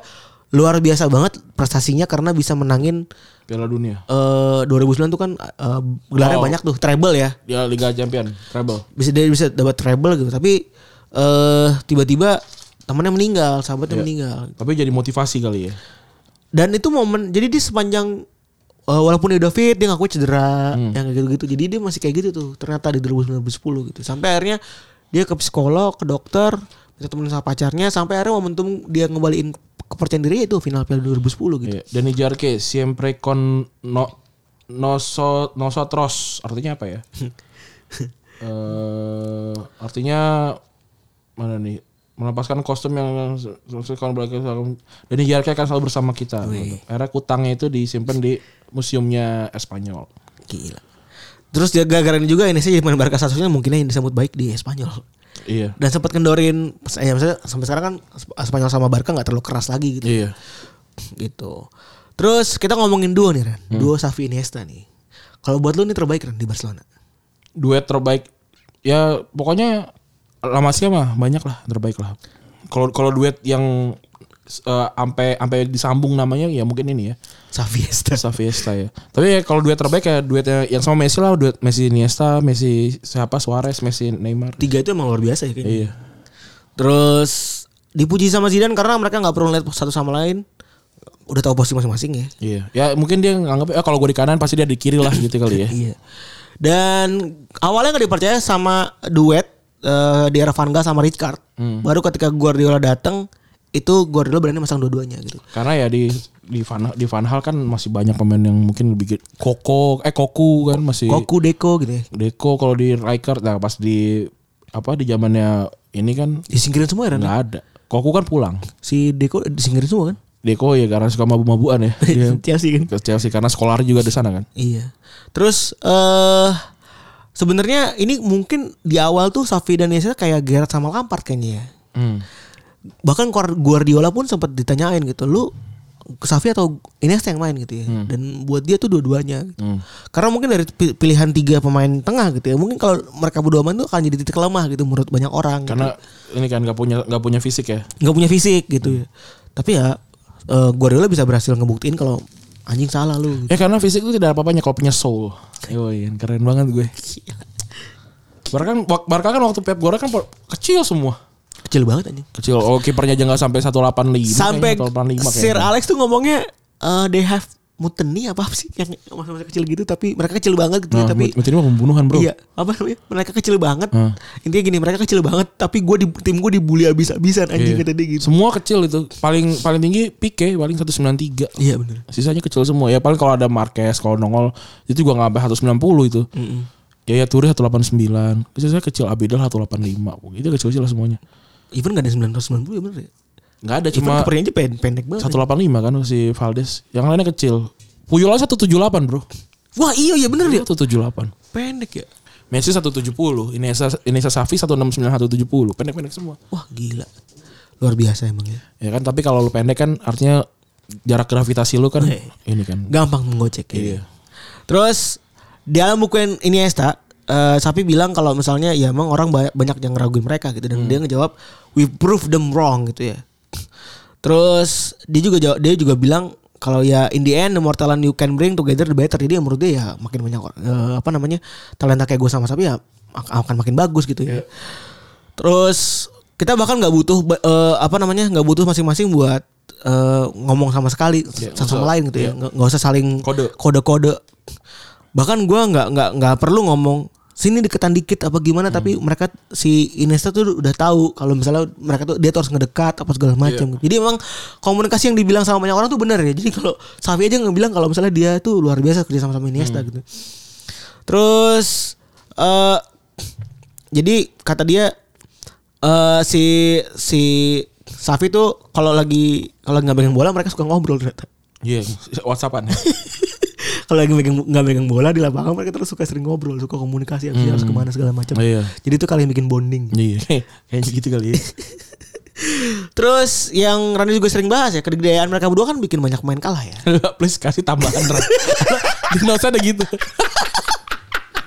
luar biasa banget prestasinya karena bisa menangin
Piala Dunia.
eh 2009 tuh kan eh, gelarnya
Oh.
banyak tuh treble ya
Dia Liga Champion, treble.
bisa dia bisa dapat treble gitu tapi eh tiba-tiba temannya meninggal sahabatnya meninggal
Tapi jadi motivasi kali ya.
dan itu momen jadi dia sepanjang eh, walaupun dia udah fit dia ngaku cedera yang kayak gitu-gitu jadi dia masih kayak gitu tuh ternyata di 2009-2010 gitu sampai akhirnya dia ke psikolog ke dokter bisa temenin sama pacarnya sampai akhirnya momentum dia ngembaliin kepercayaan diri itu final Piala 2010 gitu
Iya. Dani Jarke, siempre con no noso nosotros. Artinya apa ya? eh artinya mana nih? Melepaskan kostum yang Dani Jarke akan selalu bersama kita. Era kutangnya itu disimpan di museumnya Espanyol.
Gila. Terus dia gara-gara ini juga Indonesia jadi pemain Barca satu-satunya mungkin yang disambut baik di Spanyol.
Iya.
Dan sempat kendorin ya misalnya sampai sekarang kan Sp- Spanyol sama Barca nggak terlalu keras lagi gitu.
Iya.
Gitu. Terus kita ngomongin duo nih Ran.
Hmm.
Duo Xavi Iniesta nih. Kalau buat lu ini terbaik Ran di Barcelona.
duet terbaik ya pokoknya lama sih mah banyak lah terbaik lah kalau kalau duet yang eh, ampe ampe disambung namanya ya mungkin ini ya
Xavi Iniesta.
Saviesta ya tapi ya kalau duet terbaik ya duet yang, yang sama Messi lah duet Messi Iniesta Messi siapa Suarez Messi Neymar
Tiga itu emang luar biasa ya kayaknya.
iya
Terus dipuji sama Zidane karena mereka nggak perlu lihat satu sama lain. Udah tahu posisi masing-masing ya.
iya ya mungkin dia nganggap eh, kalau gue di kanan pasti dia di kiri lah gitu kali ya
Iya. Dan awalnya nggak dipercaya sama duet eh, di era Van Gaal sama Rijkaard.
Hmm.
Baru ketika Guardiola datang itu Guardiola berani masang dua-duanya gitu.
karena ya di di Van di Van Hal kan masih banyak pemain yang mungkin lebih gede. Koko eh Koku kan masih
Koku Deko gitu ya.
Deko kalau di Riker nah pas di apa di zamannya ini kan
Disingkirin semua ya Ran?
nggak ada. Koku kan pulang.
Si Deko disingkirin semua kan?
Deko ya karena suka mabu-mabuan ya. Dia
Chelsea kan.
ke Chelsea karena sekolahnya juga di sana kan.
Iya. Terus eh sebenarnya ini mungkin di awal tuh Safi dan Iniesta kayak Gerrard sama Lampard kayaknya ya. Bahkan Guardiola pun sempat ditanyain gitu, "Lu Xavi atau Iniesta yang main gitu ya. Dan buat dia tuh dua-duanya. gitu. Karena mungkin dari pi- pilihan tiga pemain tengah gitu ya. Mungkin kalau mereka berdua main tuh akan jadi titik lemah gitu menurut banyak orang. gitu.
Karena ini kan nggak punya nggak punya fisik ya.
nggak punya fisik gitu. ya. Tapi ya eh, Guardiola bisa berhasil ngebuktiin kalau anjing salah lu. Gitu.
Ya karena fisik itu tidak ada apa-apanya kalau punya soul. Yoi, keren banget gue. Barca kan, Barca kan waktu Pep Guardiola kan po- kecil semua.
Kecil banget anjing.
Kecil. Oh, kipernya aja nggak sampai 185
Sampai
kayaknya, 185
Sir
kayaknya.
Alex tuh ngomongnya eh, they have mutiny apa sih yang masa-masa kecil gitu tapi mereka kecil banget gitu ya,
Nah,
tapi
tapi ini mah pembunuhan, Bro.
Iya, apa namanya? Mereka kecil banget.
Hah.
Intinya gini, mereka kecil banget, tapi gue di tim gue dibully abis-abisan anjing
Iya.
kata dia gitu.
Semua kecil itu. Paling paling tinggi Pique paling 193.
Iya bener
Sisanya kecil semua. Ya paling kalau ada Marquez, kalau nongol itu juga nggak sampai 190 itu. Ya ya Turi 189. Sisanya kecil Abidal 185. Itu kecil-kecil semuanya.
Even gak ada 990 ya bener ya.
Nggak ada
Even
cuma
kipernya aja pendek, pendek banget. ya.
185 kan si Valdes. Yang lainnya kecil. Puyol aja 178, Bro.
Wah iya ya bener ya.
178.
Pendek ya.
Messi 170, Inesa Inesa Safi 169 170. Pendek-pendek semua.
Wah gila. Luar biasa emang ya.
Ya kan, tapi kalau lu pendek kan artinya jarak gravitasi lu kan ini kan.
Gampang menggocek ya.
Iya.
Terus di dalam buku Iniesta, eh Sapi bilang kalau misalnya ya emang orang banyak, banyak yang ngeraguin mereka gitu dan
Hmm.
dia ngejawab we prove them wrong gitu ya. Terus dia juga jawab, dia juga bilang kalau ya in the end the more talent you can bring together the better. Jadi ya menurut dia ya makin banyak or- eh, apa namanya talenta kayak gue sama Sapi ya ak- akan makin bagus gitu ya.
Iya.
Terus kita bahkan nggak butuh ba- eh, apa namanya nggak butuh masing-masing buat eh, ngomong sama sekali
Iya,
satu sama lain gitu ya nggak nggak usah saling
Kode.
kode-kode bahkan gua nggak nggak nggak perlu ngomong sini deketan dikit apa gimana tapi mereka si Iniesta tuh udah tahu kalau misalnya mereka tuh dia tuh harus ngedekat apa segala macam jadi emang komunikasi yang dibilang sama banyak orang tuh benar ya jadi kalau Safi aja ngebilang kalau misalnya dia tuh luar biasa kerja sama sama Iniesta gitu terus eh jadi kata dia eh si si Safi tuh kalau lagi kalau nggak pegang bola mereka suka ngobrol ternyata
Iya, WhatsAppan.
kalau lagi megang nggak megang bola di lapangan mereka terus suka sering ngobrol suka komunikasi harus harus kemana segala macam
Iya.
jadi itu kalian bikin bonding
Iya, kayaknya gitu kali ya.
terus yang Rani juga sering bahas ya kedegdayaan mereka berdua kan bikin banyak main kalah ya
Please kasih tambahan Ran. Di notes ada gitu.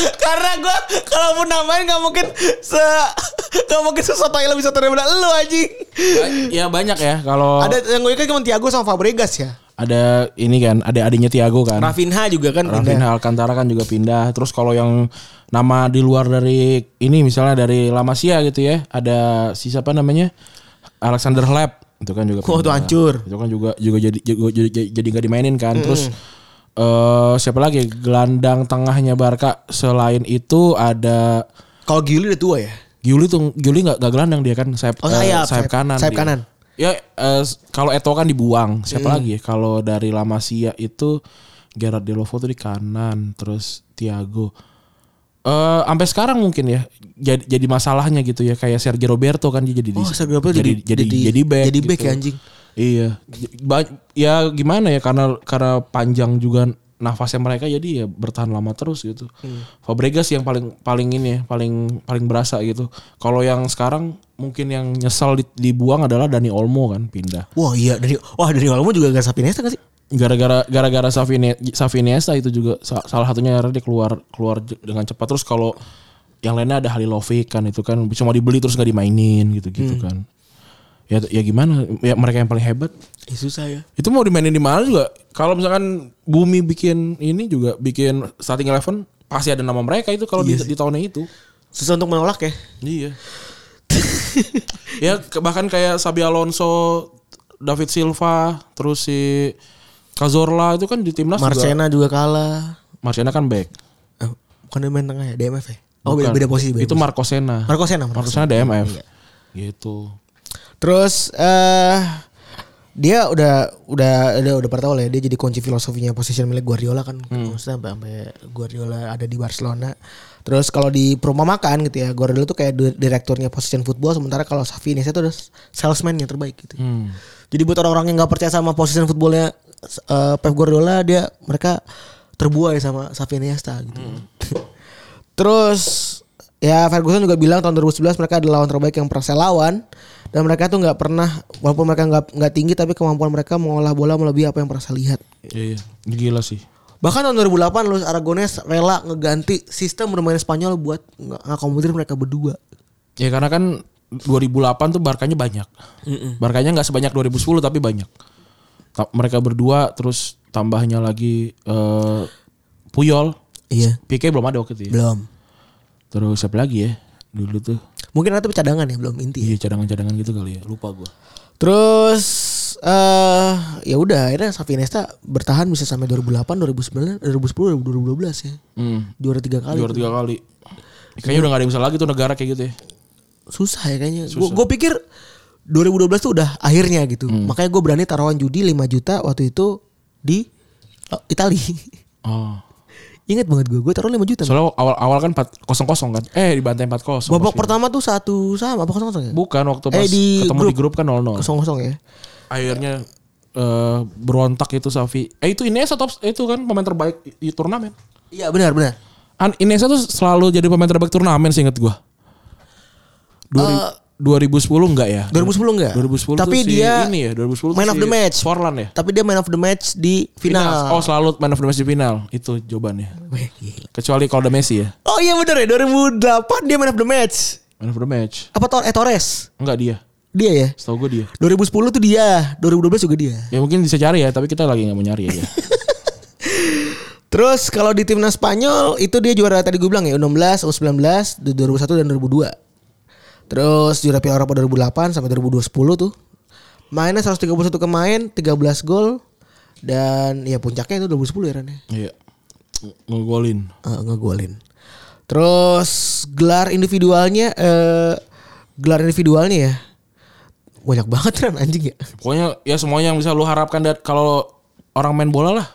karena gue kalaupun namain nggak mungkin se nggak mungkin sesuatu yang lebih satu daripada lu anjing
Ya banyak ya kalau
ada
ada,
yang gue kan cuma Tiago sama Fabregas ya
ini kan, ada adiknya Tiago kan.
Rafinha juga kan pindah.
Rafinha Alcantara kan juga pindah. Terus kalau yang nama di luar dari ini misalnya dari La Masia gitu ya, ada si siapa namanya? Alexander Hleb itu kan juga.
Wah, itu hancur.
Itu kan juga juga jadi juga jadi jadi nggak dimainin kan. Terus eh siapa lagi gelandang tengahnya Barca selain itu ada
Kalau Gili udah tua ya.
Giuli tuh Giuli nggak nggak gelandang dia kan sayap
Oh,
eh,
sayap,
sayap
sayap-
kanan
sayap
dia.
kanan. Hmm.
ya eh, s- kalau Eto kan dibuang siapa lagi ya? kalau dari La Masia itu Gerard Delovo tuh di kanan terus Thiago eh sampai sekarang mungkin ya jadi jadi masalahnya gitu ya kayak Sergio Roberto kan dia jadi di-
Oh, Sergio Roberto
jadi jadi jadi, back
jadi back
gitu.
ya anjing.
iya J- ba- ya gimana ya karena karena panjang juga nafasnya mereka jadi ya bertahan lama terus gitu
Hmm.
Fabregas yang paling paling ini ya paling paling berasa gitu kalau yang sekarang mungkin yang nyesal di- dibuang adalah Dani Olmo kan pindah
Wah iya dari wah dari Olmo juga gak Sapi Nesta gak sih?
gara-gara gara-gara Savine- Xavi Iniesta itu juga sa- salah satunya akhirnya dia keluar keluar j- dengan cepat terus kalau yang lainnya ada Halilovic kan itu kan cuma dibeli terus gak dimainin gitu-gitu kan ya ya gimana ya mereka yang paling hebat
Eh, susah ya.
itu mau dimainin di mana juga kalau misalkan Bumi bikin ini juga bikin starting eleven pasti ada nama mereka itu kalau di, di tahunnya itu
Susah untuk menolak ya.
iya ya ke- bahkan kayak Sabi Alonso David Silva terus si Cazorla itu kan di timnas juga
Marcena juga kalah.
Marcena kan back
Eh, bukan dia main tengah ya, DMF ya. Oh beda,
Bukan.
beda posisi. Beda
itu
posisi. Iya.
Marco Sena
Marco Senna. Marco
Marco
Senna.
Sena DMF gitu
Terus eh dia udah udah udah udah pada tahu lah ya, dia jadi kunci filosofinya position milik Guardiola kan
Hmm.
maksudnya sampai, sampai Guardiola ada di Barcelona. Terus kalau di Perumah Makan gitu ya, Guardiola tuh kayak di- direkturnya position football sementara kalau Xavi Iniesta tuh udah salesman yang terbaik gitu.
hmm.
Jadi buat orang-orang yang nggak percaya sama position footballnya eh, Pep Guardiola dia mereka terbuai sama Xavi Iniesta gitu. Terus Ya Ferguson juga bilang tahun 2011 mereka adalah lawan terbaik yang pernah saya lawan dan mereka tuh nggak pernah walaupun mereka nggak nggak tinggi tapi kemampuan mereka mengolah bola melebihi apa yang pernah saya lihat.
Iya, iya. Gila sih.
Bahkan tahun 2008 Luis Aragones rela ngeganti sistem bermain Spanyol buat nggak- ngakomodir mereka berdua.
Ya karena kan 2008 tuh barkanya banyak. Barkanya nggak sebanyak 2010 tapi banyak. Ta- mereka berdua terus tambahnya lagi eh, Puyol,
Iya.
Pique belum ada waktu itu ya.
Belum.
Terus siapa lagi ya? Dulu tuh.
Mungkin ada tapi cadangan ya, belum inti. ya.
Iya, cadangan-cadangan gitu kali ya. Lupa gua.
Terus eh ya udah akhirnya Xavi Iniesta bertahan bisa sampai 2008, 2009, 2010, 2012 ya.
Hmm.
Juara tiga kali.
Juara tiga kali. Kayaknya udah gak ada yang bisa lagi tuh negara kayak gitu ya.
Iya. susah ya kayaknya. Gue pikir 2012 tuh udah akhirnya gitu.
Hmm.
Makanya gue berani taruhan judi 5 juta waktu itu di oh, Itali.
Oh.
Ingat banget gue, gue taruh 5 juta.
Soalnya awal-awal kan 4 0-0 kan. Eh dibantai 4-0.
Babak
Pas-
pertama tuh satu sama apa kosong kosong ya?
Bukan waktu
Eh,
pas
di
ketemu di
grup.
grup kan 0-0.
Kosong kosong ya.
akhirnya eh berontak itu Safi. Eh itu Iniesta top itu kan pemain terbaik di, di turnamen.
Iya benar benar.
An Iniesta tuh selalu jadi pemain terbaik turnamen sih inget gua.
Eh,
Dua- 2010 enggak ya?
2010 enggak?
2010
Uh, Tapi
tuh si
dia
ini ya 2010 tuh
man of
si
the match.
Forlan ya?
Tapi dia man of the match di final.
Oh selalu man of the match di final itu jawabannya.
Weh, gila.
Kecuali kalau ada Messi ya.
Oh iya benar ya 2008 dia man of the match.
Man of the match.
Apa Tor eh, Torres?
Enggak dia.
Dia ya.
Setahu gua dia.
2010 tuh dia, 2012 juga dia.
Ya mungkin bisa cari ya, tapi kita lagi nggak mau nyari ya. dia.
Terus kalau di timnas Spanyol itu dia juara tadi gue bilang ya U16, U19, di 2001 dan 2002. Terus juara Piala Eropa 2008 sampai 2010 tuh. Mainnya 131 kemain, 13 gol dan ya puncaknya itu 2010 ya Ren. ya.
Iya. Ngegolin.
Eh, ngegolin. Terus gelar individualnya eh gelar individualnya ya banyak banget Ren anjing ya.
Pokoknya ya semuanya yang bisa lu harapkan dat kalau orang main bola lah.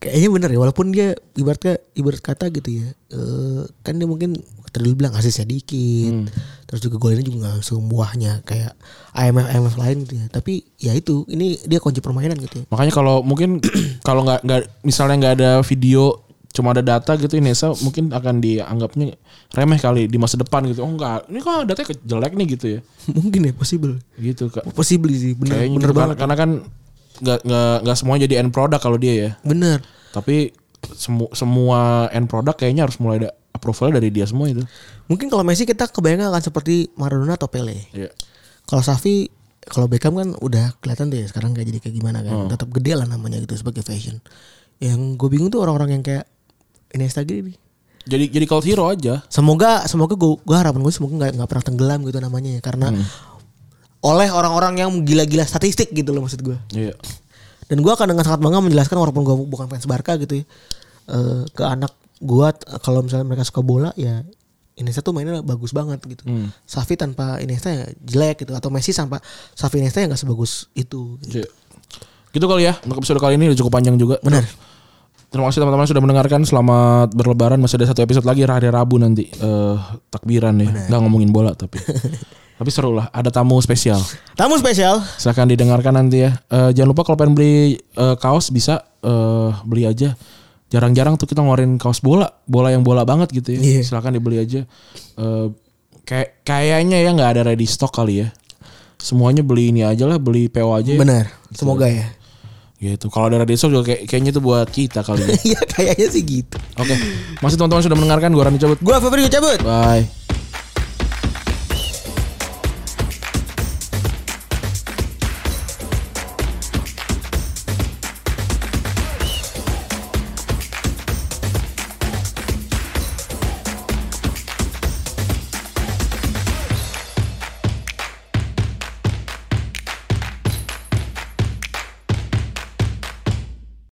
Kayaknya bener ya walaupun dia ibaratnya ibarat kata gitu ya. eh, kan dia mungkin tadi lu bilang asisnya dikit. Terus juga golnya juga nggak semuanya kayak IMF IMF lain gitu ya. Tapi ya itu ini dia kunci permainan gitu ya.
Makanya kalau mungkin kalau nggak nggak misalnya nggak ada video cuma ada data gitu Inesa mungkin akan dianggapnya remeh kali di masa depan gitu. Oh enggak, ini kok datanya ke- jelek nih gitu ya.
mungkin ya possible.
Gitu Kak.
Possible sih bener
Kayaknya
bener
gitu,
banget.
karena, karena kan nggak nggak nggak semua jadi end product kalau dia ya.
Bener.
Tapi semu- semua end product kayaknya harus mulai ada approval dari dia semua itu.
Mungkin kalau Messi kita kebayang akan seperti Maradona atau Pele.
Iya.
Kalau Safi kalau Beckham kan udah kelihatan tuh ya sekarang kayak jadi kayak gimana kan. Tetap gede lah namanya gitu sebagai fashion. Yang gue bingung tuh orang-orang yang kayak Iniesta gini nih.
Jadi jadi cult hero aja.
Semoga semoga gue harapan gue semoga nggak nggak pernah tenggelam gitu namanya ya karena oleh orang-orang yang gila-gila statistik gitu loh maksud gue.
Iya.
Dan gue akan dengan sangat bangga menjelaskan walaupun gue bukan fans Barca gitu ya eh, ke anak gue kalau misalnya mereka suka bola ya Iniesta tuh mainnya bagus banget gitu. Safi tanpa Iniesta ya jelek gitu atau Messi tanpa Safi Iniesta ya nggak sebagus itu. Gitu.
Iya. Gitu kali ya untuk episode kali ini udah cukup panjang juga.
Benar.
Terima kasih teman-teman sudah mendengarkan. Selamat berlebaran. Masih ada satu episode lagi hari Rabu nanti. eh takbiran ya. Nggak ngomongin bola tapi. tapi seru lah. Ada tamu spesial.
Tamu spesial.
Silahkan didengarkan nanti ya. Eh, jangan lupa kalau pengen beli eh, kaos bisa eh, beli aja. Jarang-jarang tuh kita ngeluarin kaos bola. Bola yang bola banget gitu ya.
Iya.
Silahkan dibeli aja. Eh, kayak kayaknya ya nggak ada ready stock kali ya. Semuanya beli ini aja lah. Beli PO aja. Ya.
Benar. Semoga ya.
Gitu. Kalau ada ready stock juga kayak- kayaknya itu buat kita kali ya.
Iya kayaknya sih gitu.
Oke, masih teman-teman sudah mendengarkan gue Rani cabut.
Gue Febri cabut.
Bye.